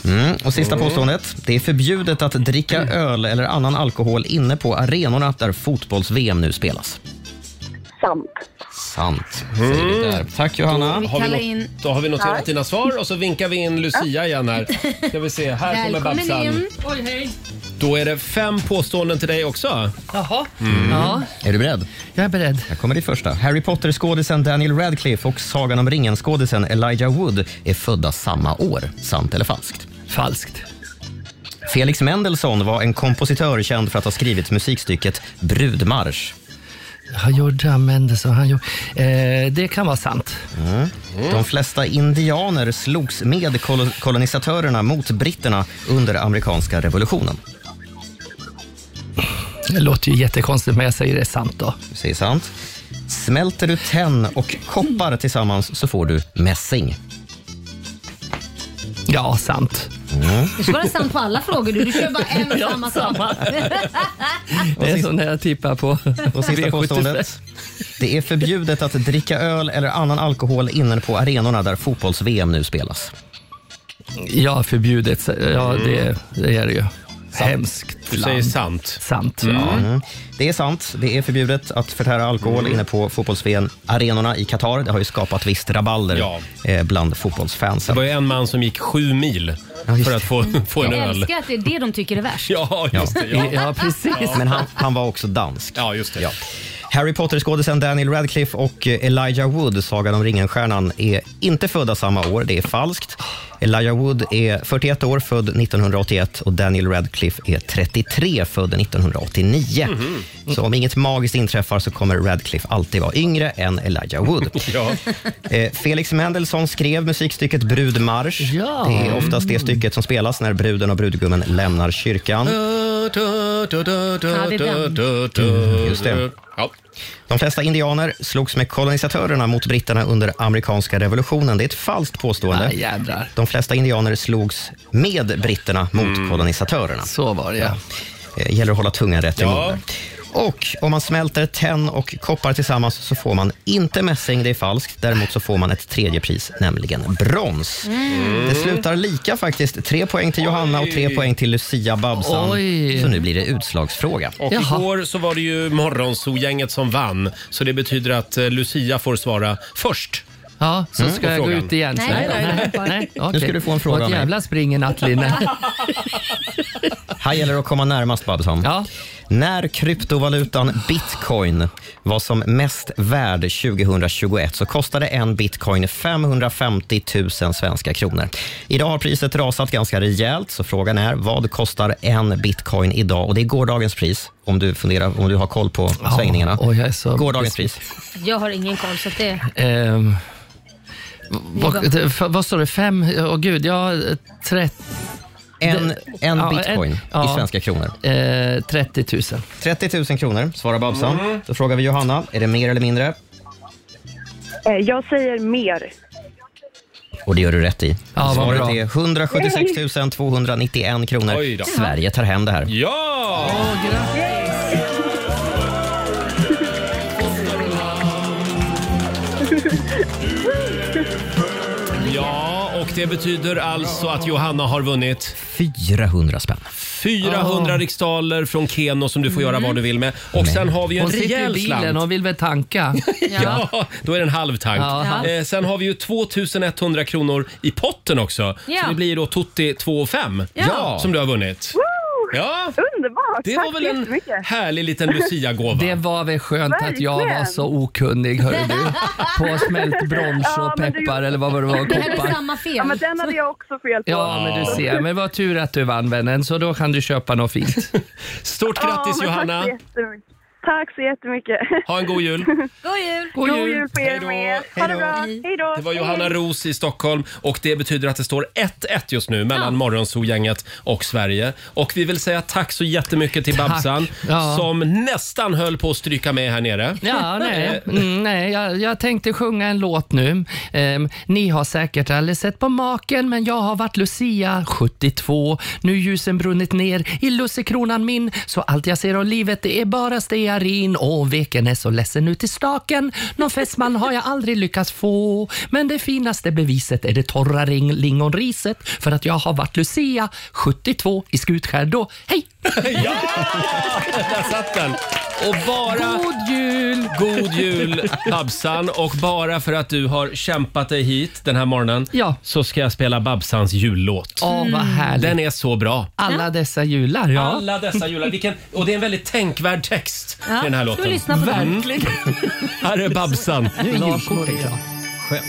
[SPEAKER 7] Mm. Och sista
[SPEAKER 18] Mm.
[SPEAKER 7] påståendet. Det är förbjudet att dricka öl eller annan alkohol inne på arenorna där fotbolls-VM nu spelas.
[SPEAKER 18] Sant.
[SPEAKER 7] Sant, säger vi
[SPEAKER 12] Mm.
[SPEAKER 7] där. Tack Johanna.
[SPEAKER 1] Då har, vi
[SPEAKER 2] in-
[SPEAKER 1] not- då har vi noterat dina svar och så vinkar vi in Lucia igen här. Ska vi se, här kommer Babsan.
[SPEAKER 12] Oj, hej.
[SPEAKER 1] Då är det fem påståenden till dig också.
[SPEAKER 12] Jaha. Ja.
[SPEAKER 7] Är du beredd?
[SPEAKER 12] Jag är beredd.
[SPEAKER 7] Här kommer ditt första. Harry Potter-skådisen Daniel Radcliffe och Sagan om ringen-skådisen Elijah Wood är födda samma år. Sant eller falskt?
[SPEAKER 12] Falskt.
[SPEAKER 7] Felix Mendelssohn var en kompositör känd för att ha skrivit musikstycket Brudmarsch.
[SPEAKER 12] Han gjorde använde så han gjorde. Eh, det kan vara sant.
[SPEAKER 7] Mm. De flesta indianer slogs med kol- kolonisatörerna mot britterna under amerikanska revolutionen.
[SPEAKER 12] Det låter ju jättekonstigt men jag säger det är sant då.
[SPEAKER 7] Du säger sant. Smälter du tenn och koppar tillsammans så får du mässing.
[SPEAKER 12] Ja, sant.
[SPEAKER 7] Mm.
[SPEAKER 2] Du ska vara sant på alla frågor du. Du kör bara en och
[SPEAKER 12] Ja,
[SPEAKER 2] samma sak.
[SPEAKER 12] Det är som när jag tippar på
[SPEAKER 7] Och sista
[SPEAKER 12] V75.
[SPEAKER 7] påståendet. Det är förbjudet att dricka öl eller annan alkohol inne på arenorna där fotbolls-VM nu spelas.
[SPEAKER 12] Ja, förbjudet. Så- Ja,
[SPEAKER 7] Mm.
[SPEAKER 12] det, det är det ju. Hemskt
[SPEAKER 7] Du säger
[SPEAKER 12] land.
[SPEAKER 1] sant.
[SPEAKER 12] Sant,
[SPEAKER 7] Ja.
[SPEAKER 12] ja.
[SPEAKER 7] Mm. Det är sant. Det är förbjudet att förtära alkohol inne på fotbolls-VM-arenorna i Qatar. Det har ju skapat visst rabalder eh, bland
[SPEAKER 1] Det
[SPEAKER 7] fotbollsfansen.
[SPEAKER 1] var ju en man som gick sju mil för att få, få en
[SPEAKER 2] Jag
[SPEAKER 1] öl.
[SPEAKER 2] älskar att det är det de tycker är värst.
[SPEAKER 1] Ja, just det. Ja, Ja.
[SPEAKER 7] Men han, han var också dansk.
[SPEAKER 1] Ja, just det.
[SPEAKER 7] Harry Potter-skådisen Daniel Radcliffe och eh, Elijah Wood, Sagan om ringen-stjärnan, är inte födda samma år. Det är falskt. Elijah Wood är 41 år, född 1981 och Daniel Radcliffe är 33, född 1989. Så om inget magiskt inträffar så kommer Radcliffe alltid vara yngre än Elijah Wood. Eh, Felix Mendelssohn skrev musikstycket Brudmarsch. Det är oftast det stycket som spelas när bruden och brudgummen lämnar kyrkan.
[SPEAKER 1] det är
[SPEAKER 7] Mm, Just det. De flesta indianer slogs med kolonisatörerna mot britterna under amerikanska revolutionen. Det är ett falskt påstående.
[SPEAKER 12] Ah, jädrar.
[SPEAKER 7] De flesta indianer slogs
[SPEAKER 12] Mm.
[SPEAKER 7] med britterna mot kolonisatörerna.
[SPEAKER 12] Så var det, ja.
[SPEAKER 7] Eh, gäller att hålla tungan rätt i
[SPEAKER 12] Ja.
[SPEAKER 7] munnen. Och om man smälter tenn och koppar tillsammans så får man inte mässing, det är falskt. Däremot så får man ett tredje pris, nämligen brons.
[SPEAKER 12] Mm.
[SPEAKER 7] Det slutar lika faktiskt. Tre poäng till Johanna och tre
[SPEAKER 1] Oj.
[SPEAKER 7] poäng till Lucia Babsan.
[SPEAKER 1] Oj.
[SPEAKER 7] Så nu blir det utslagsfråga.
[SPEAKER 1] Och igår så var det ju Morgonzoo-gänget som vann. Så det betyder att eh, Lucia får svara först.
[SPEAKER 12] Ja, så
[SPEAKER 1] Mm.
[SPEAKER 12] ska
[SPEAKER 1] På
[SPEAKER 12] jag gå
[SPEAKER 1] frågan.
[SPEAKER 12] ut igen sen.
[SPEAKER 1] Nej, nej, nej.
[SPEAKER 7] Nu
[SPEAKER 12] okej.
[SPEAKER 7] ska du få en fråga av
[SPEAKER 12] Vad
[SPEAKER 7] mig.
[SPEAKER 12] jävla springer Attline.
[SPEAKER 7] Här gäller det att komma närmast Babsan. När kryptovalutan bitcoin var som mest värd 2021 så kostade en bitcoin 550 000 svenska kronor. Idag har priset rasat ganska rejält så frågan är vad kostar en bitcoin idag? Och det är gårdagens pris om du funderar om du har koll på svängningarna. gårdagens pris.
[SPEAKER 2] Jag har ingen koll så att det...
[SPEAKER 12] Ehm, vad, det- f- vad står det? Fem? Åh gud, ja, trett...
[SPEAKER 7] En, en
[SPEAKER 12] Ja,
[SPEAKER 7] bitcoin
[SPEAKER 12] en- ja. Eh,
[SPEAKER 7] i svenska kronor.
[SPEAKER 12] 30 000.
[SPEAKER 7] 30 000 kronor svarar Babsan.
[SPEAKER 12] Mm.
[SPEAKER 7] Då frågar vi Johanna, är det mer eller mindre?
[SPEAKER 18] Eh, Jag säger mer.
[SPEAKER 7] Och det gör du rätt i.
[SPEAKER 12] vad
[SPEAKER 7] Svaret
[SPEAKER 12] bra.
[SPEAKER 7] är 176 291
[SPEAKER 12] Oj
[SPEAKER 7] kronor.
[SPEAKER 12] då.
[SPEAKER 7] Sverige tar hem det här.
[SPEAKER 1] Ja! Ja, och det betyder alltså att Johanna har vunnit
[SPEAKER 7] 400 spänn.
[SPEAKER 1] 400
[SPEAKER 12] Ja.
[SPEAKER 1] riksdaler från Keno som du får göra vad du vill med. Och sen har vi ju en
[SPEAKER 12] Mm. Hon sitter i
[SPEAKER 1] rejäl
[SPEAKER 12] bilen
[SPEAKER 1] slant.
[SPEAKER 12] och vill väl tanka.
[SPEAKER 1] Ja. då är det en halv tank.
[SPEAKER 12] Ja.
[SPEAKER 1] Eh, sen har vi ju 2100 kronor i potten också.
[SPEAKER 18] Ja.
[SPEAKER 1] Så det blir då Tutti 2 5
[SPEAKER 18] Ja.
[SPEAKER 1] som du har vunnit.
[SPEAKER 18] Woo!
[SPEAKER 1] Ja.
[SPEAKER 18] Underbart!
[SPEAKER 1] Det
[SPEAKER 18] Tack
[SPEAKER 1] var väl en-
[SPEAKER 18] så jättemycket.
[SPEAKER 1] Härlig liten Lucia-gåva.
[SPEAKER 12] Det var väl skönt att jag
[SPEAKER 18] Verkligen.
[SPEAKER 12] var så okunnig, hörru du. På smält brons
[SPEAKER 18] Ja,
[SPEAKER 12] och
[SPEAKER 18] men
[SPEAKER 12] peppar eller vad var det var, koppar.
[SPEAKER 18] fel. Ja, men den hade jag också fel på.
[SPEAKER 12] Ja, men du ser. Men vad tur att du vann vännen, så då kan du köpa något fint.
[SPEAKER 1] Stort
[SPEAKER 18] Ja, men Tack så jättemycket. Tack så jättemycket.
[SPEAKER 1] Ha en god jul.
[SPEAKER 18] God jul!
[SPEAKER 1] God
[SPEAKER 18] God
[SPEAKER 1] jul.
[SPEAKER 18] jul, på er med. Ha det bra. Hej då.
[SPEAKER 1] Det var Johanna Roos i Stockholm och det betyder att det står 1-1 just nu mellan Morgonzoo-gänget och Sverige. Och vi vill säga tack så jättemycket till
[SPEAKER 12] Tack.
[SPEAKER 1] Babsan
[SPEAKER 12] Ja.
[SPEAKER 1] som nästan höll på att stryka med här nere.
[SPEAKER 12] Ja, nej. Mm, nej jag, jag tänkte sjunga en låt nu. Ehm, ni har säkert aldrig sett på maken, men jag har varit Lucia 72. Nu ljusen brunnit ner i lussekronan min, så allt jag ser av livet det är bara stearin. Och veken är så ledsen ut i staken. Någon fästman har jag aldrig lyckats få. Men det finaste beviset är det torra ring- lingonriset, för att jag har varit Lucia 72 i Skutskär då. Hej!
[SPEAKER 1] ja! Där satt den. Och bara...
[SPEAKER 12] God jul!
[SPEAKER 1] God jul Babsan och bara för att du har kämpat dig hit den här morgonen
[SPEAKER 12] Ja.
[SPEAKER 1] så ska jag spela Babsans jullåt. Mm.
[SPEAKER 12] Åh, vad härligt.
[SPEAKER 1] Den är så bra.
[SPEAKER 12] Alla dessa jular, ja.
[SPEAKER 1] Alla dessa jular. Vilken, och det är en väldigt tänkvärd text
[SPEAKER 12] Ja,
[SPEAKER 1] i den här
[SPEAKER 12] ska
[SPEAKER 1] låten.
[SPEAKER 12] vi lyssna på den?
[SPEAKER 1] Här är Babsan.
[SPEAKER 12] Nu är
[SPEAKER 1] Lars
[SPEAKER 12] julkortet
[SPEAKER 1] Norén.
[SPEAKER 12] klar.
[SPEAKER 1] Skönt.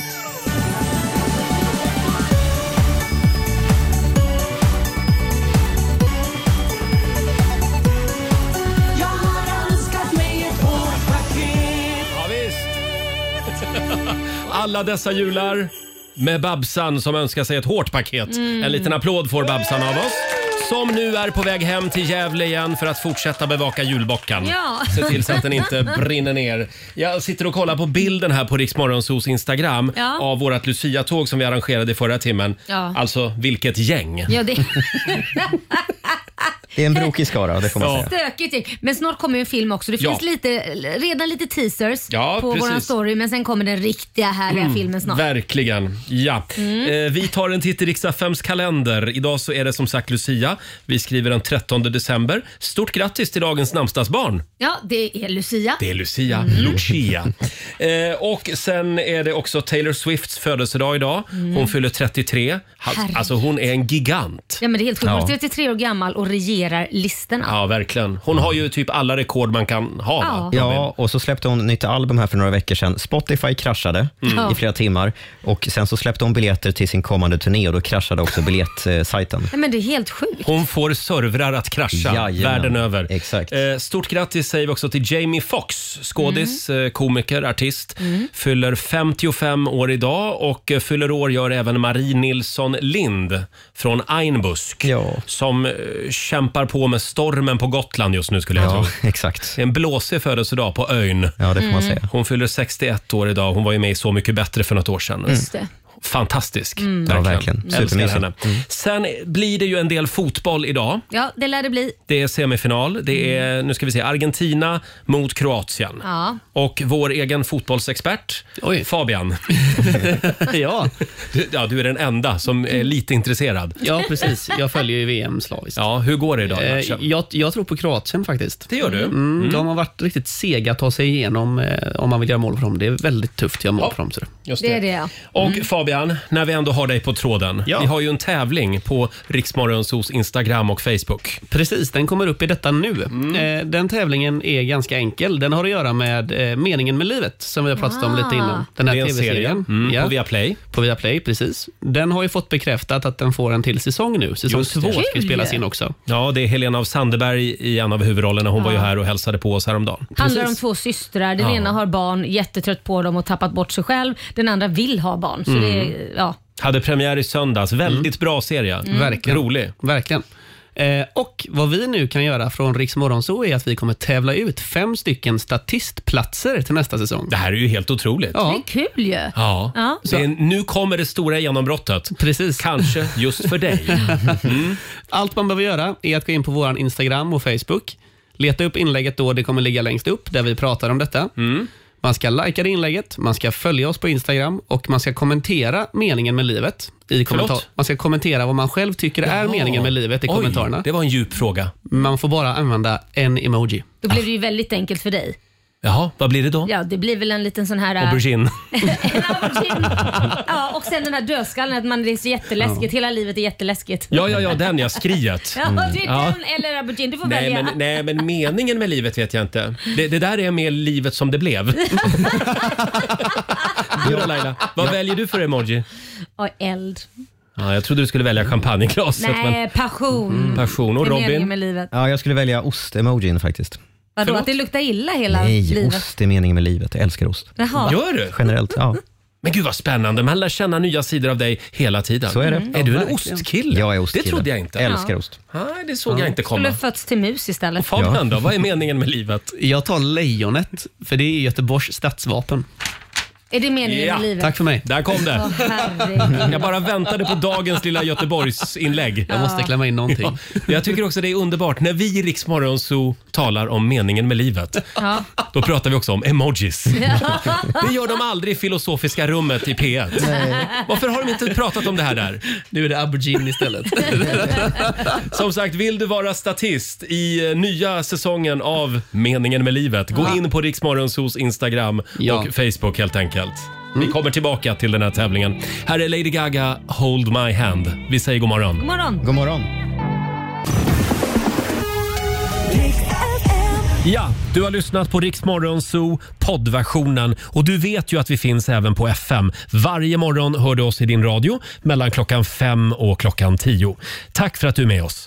[SPEAKER 15] Jag har önskat mig ett vårdpaket.
[SPEAKER 1] Ja, visst. Alla dessa jular med Babsan som önskar sig ett hårt paket.
[SPEAKER 12] Mm.
[SPEAKER 1] En liten applåd får Babsan av oss. Som nu är på väg hem till Gävle igen för att fortsätta bevaka julbockan.
[SPEAKER 2] Ja.
[SPEAKER 1] Se till så att den inte brinner ner. Jag sitter och kollar på bilden här på Riksmorgonsos Instagram
[SPEAKER 2] Ja.
[SPEAKER 1] av vårt Lucia-tåg som vi arrangerade i förra timmen.
[SPEAKER 2] Ja.
[SPEAKER 1] Alltså, vilket gäng!
[SPEAKER 2] Ja, det
[SPEAKER 7] Det är en brokig skara, det får man
[SPEAKER 1] Ja.
[SPEAKER 7] säga.
[SPEAKER 2] Stökigt gäng. Men snart kommer ju en film också. Det
[SPEAKER 7] Ja.
[SPEAKER 2] finns lite, redan lite teasers
[SPEAKER 1] Ja,
[SPEAKER 2] på
[SPEAKER 1] precis.
[SPEAKER 2] våran story men sen kommer den riktiga härliga
[SPEAKER 1] Mm,
[SPEAKER 2] filmen snart.
[SPEAKER 1] Verkligen. Ja.
[SPEAKER 2] Mm.
[SPEAKER 1] Eh, vi tar en titt i Riksaffems kalender. Idag så är det som sagt Lucia. Vi skriver den 13 december. Stort grattis till dagens namnsdagsbarn.
[SPEAKER 2] Ja, det är Lucia.
[SPEAKER 1] Det är Lucia.
[SPEAKER 2] Mm.
[SPEAKER 1] Lucia. Eh, och sen är det också Taylor Swifts födelsedag idag.
[SPEAKER 2] Mm.
[SPEAKER 1] Hon fyller 33. Ha-
[SPEAKER 2] Herregud.
[SPEAKER 1] Alltså hon är en gigant.
[SPEAKER 2] Ja men det är helt sjukt.
[SPEAKER 1] Ja.
[SPEAKER 2] Hon är 33 år gammal och regerar listorna.
[SPEAKER 1] Ja, verkligen. Hon har ju typ alla rekord man kan ha. va?
[SPEAKER 2] Ja.
[SPEAKER 7] Ja, och så släppte hon nytt album här för några veckor sedan. Spotify kraschade
[SPEAKER 1] Mm.
[SPEAKER 7] i flera timmar och sen så släppte hon biljetter till sin kommande turné och då kraschade också biljettsajten.
[SPEAKER 2] Nej, men det är helt sjukt.
[SPEAKER 1] Hon får servrar att krascha
[SPEAKER 7] Jajamän.
[SPEAKER 1] världen över. Eh, Stort grattis säger vi också till Jamie Foxx, skådis, eh, komiker, artist.
[SPEAKER 12] Mm.
[SPEAKER 1] Fyller 55 år idag och eh, fyller år gör även Marie Nilsson Lind från Einbusk. Som eh, kämpar på med stormen på Gotland just nu skulle jag
[SPEAKER 7] Ja,
[SPEAKER 1] tro.
[SPEAKER 7] Exakt.
[SPEAKER 1] Det är en blåsig födelsedag på ön.
[SPEAKER 7] Ja, det får man Mm. säga.
[SPEAKER 1] Hon fyller 61 år idag. Hon var ju med i Så mycket bättre för något år sedan.
[SPEAKER 7] Just det.
[SPEAKER 1] Fantastisk.
[SPEAKER 2] Mm.
[SPEAKER 7] Ja, verkligen. Mm.
[SPEAKER 1] Älskar
[SPEAKER 7] Supermysig.
[SPEAKER 1] henne. Sen blir det ju en del fotboll idag.
[SPEAKER 2] Ja, det lär det bli.
[SPEAKER 1] Det är semifinal. Det är, nu ska vi se, Argentina mot Kroatien.
[SPEAKER 2] Ja.
[SPEAKER 1] Och vår egen fotbollsexpert, Fabian. ja. Du, ja, du är den enda som är lite intresserad.
[SPEAKER 9] Ja, precis. Jag följer ju VM slaviskt. Eh,
[SPEAKER 1] Ja, hur går det idag
[SPEAKER 12] Eh,
[SPEAKER 1] i matchen?
[SPEAKER 9] jag, jag tror på Kroatien faktiskt.
[SPEAKER 1] Det gör du?
[SPEAKER 9] Mm.
[SPEAKER 1] Mm.
[SPEAKER 9] De har varit riktigt sega att ta sig igenom eh, om man vill göra mål för dem. Det är väldigt tufft att göra mål för dem. Så.
[SPEAKER 1] Just
[SPEAKER 2] Det är det ja.
[SPEAKER 1] Och Fabian, när vi ändå har dig på tråden. Vi har ju en tävling på Riksmorgonsos Instagram och Facebook.
[SPEAKER 9] Precis, den kommer upp i detta nu.
[SPEAKER 1] Mm.
[SPEAKER 9] Eh, Den tävlingen är ganska enkel. Den har att göra med eh, meningen med livet som vi har pratat om
[SPEAKER 1] Ah.
[SPEAKER 9] lite innan. Den här
[SPEAKER 1] Det är en
[SPEAKER 9] tv-serien.
[SPEAKER 1] serie. Mm, på Viaplay.
[SPEAKER 9] På Viaplay, precis. Den har ju fått bekräftat att den får en till säsong nu. Säsong
[SPEAKER 1] Just det.
[SPEAKER 9] två ska ju
[SPEAKER 1] Kul.
[SPEAKER 9] spelas in också.
[SPEAKER 1] Ja, det är Helena av Sandeberg i en av huvudrollerna. Hon var ju
[SPEAKER 2] Ja.
[SPEAKER 1] här och hälsade på oss häromdagen.
[SPEAKER 2] Handlar om två systrar. Den
[SPEAKER 1] Ja.
[SPEAKER 2] ena har barn, jättetrött på dem och tappat bort sig själv. Den andra vill ha barn. Så
[SPEAKER 1] Mm.
[SPEAKER 2] det är, ja.
[SPEAKER 1] Hade premiär i söndags. Väldigt bra serie.
[SPEAKER 9] Mm. Verkligen.
[SPEAKER 1] Rolig.
[SPEAKER 9] Verkligen. Eh, och vad vi nu kan göra från Riks Morgonzoo är att vi kommer tävla ut fem stycken statistplatser till nästa säsong.
[SPEAKER 1] Det här är ju helt otroligt.
[SPEAKER 9] Ja.
[SPEAKER 2] Det är kul ju.
[SPEAKER 1] Ja.
[SPEAKER 2] Ja.
[SPEAKER 1] Det är, nu kommer det stora genombrottet.
[SPEAKER 9] Precis.
[SPEAKER 1] Kanske just för dig.
[SPEAKER 9] Allt man behöver göra är att gå in på vår Instagram och Facebook. Leta upp inlägget då, det kommer ligga längst upp där vi pratar om detta. Man ska likea det inlägget, man ska följa oss på Instagram och man ska kommentera meningen med livet. I kommentar-
[SPEAKER 1] Förlåt?
[SPEAKER 9] man ska kommentera vad man själv tycker är
[SPEAKER 1] Jaha.
[SPEAKER 9] meningen med livet i
[SPEAKER 1] Oj,
[SPEAKER 9] kommentarerna.
[SPEAKER 1] Det var en djup fråga.
[SPEAKER 9] Man får bara använda en emoji.
[SPEAKER 2] Då blev det ju väldigt enkelt för dig.
[SPEAKER 1] Jaha, vad blir det då?
[SPEAKER 2] Ja, det blir väl en liten sån här... äh,
[SPEAKER 1] Aubergine.
[SPEAKER 2] Ja, och sen den här dödskallen att man, det är så jätteläskigt. Hela livet är jätteläskigt.
[SPEAKER 1] Ja, ja, ja, den ja. Skriet.
[SPEAKER 2] Ja, det är
[SPEAKER 1] Mm. Ja.
[SPEAKER 2] den eller aubergine. Du får
[SPEAKER 1] Nej
[SPEAKER 2] välja.
[SPEAKER 1] men, nej, men meningen med livet vet jag inte. Det, det där är mer livet som det blev. Du då Laila, vad väljer du för emoji?
[SPEAKER 2] Och eld.
[SPEAKER 1] Ja, jag trodde du skulle välja champagneglaset.
[SPEAKER 2] Nej, passion.
[SPEAKER 1] men Mm. passion. Och
[SPEAKER 2] Det är meningen
[SPEAKER 1] Robin?
[SPEAKER 2] med livet.
[SPEAKER 7] Ja, jag skulle välja ost-emojin faktiskt.
[SPEAKER 2] Vadå, att det luktar illa hela
[SPEAKER 7] Nej,
[SPEAKER 2] livet?
[SPEAKER 7] ost är meningen med livet. Jag älskar ost.
[SPEAKER 2] Jaha.
[SPEAKER 1] Gör du?
[SPEAKER 7] Generellt, ja.
[SPEAKER 1] Men gud vad spännande. Man lär känna nya sidor av dig hela tiden. Mm.
[SPEAKER 7] Så är det.
[SPEAKER 1] Är du en
[SPEAKER 7] verkligen.
[SPEAKER 1] ostkille?
[SPEAKER 7] Jag är ostkille.
[SPEAKER 1] Det trodde jag inte.
[SPEAKER 7] Jag älskar ost.
[SPEAKER 1] Nej, det såg
[SPEAKER 9] Ja.
[SPEAKER 1] jag inte
[SPEAKER 2] Skulle
[SPEAKER 1] komma.
[SPEAKER 2] ha fötts till mus istället.
[SPEAKER 1] Fabian då, vad är meningen med livet?
[SPEAKER 9] Jag tar lejonet, för det är Göteborgs stadsvapen.
[SPEAKER 2] Är det meningen med livet?
[SPEAKER 9] Tack för mig.
[SPEAKER 1] Där kom
[SPEAKER 2] Åh,
[SPEAKER 1] det.
[SPEAKER 2] herregud.
[SPEAKER 1] Jag bara väntade på dagens lilla Göteborgsinlägg.
[SPEAKER 9] Jag måste klämma in någonting.
[SPEAKER 1] Jag tycker också det är underbart när vi i Rix Morgon Zoo talar om meningen med livet.
[SPEAKER 2] Ja.
[SPEAKER 1] Då pratar vi också om emojis. Det gör de aldrig i filosofiska rummet i P1. Varför har de inte pratat om det här där?
[SPEAKER 9] Nu är det aubergine istället.
[SPEAKER 1] Som sagt, vill du vara statist i eh, nya säsongen av Meningen med livet, gå in på Riksmorgonsos Instagram och Facebook helt enkelt. Vi kommer tillbaka till den här tävlingen. Här är Lady Gaga, Hold My Hand. Vi säger god morgon.
[SPEAKER 2] God morgon.
[SPEAKER 7] God morgon.
[SPEAKER 1] Ja, du har lyssnat på Riksmorgon Zoo poddversionen och du vet ju att vi finns även på FM. Varje morgon hör du oss i din radio mellan klockan fem och klockan tio. Tack för att du är med oss.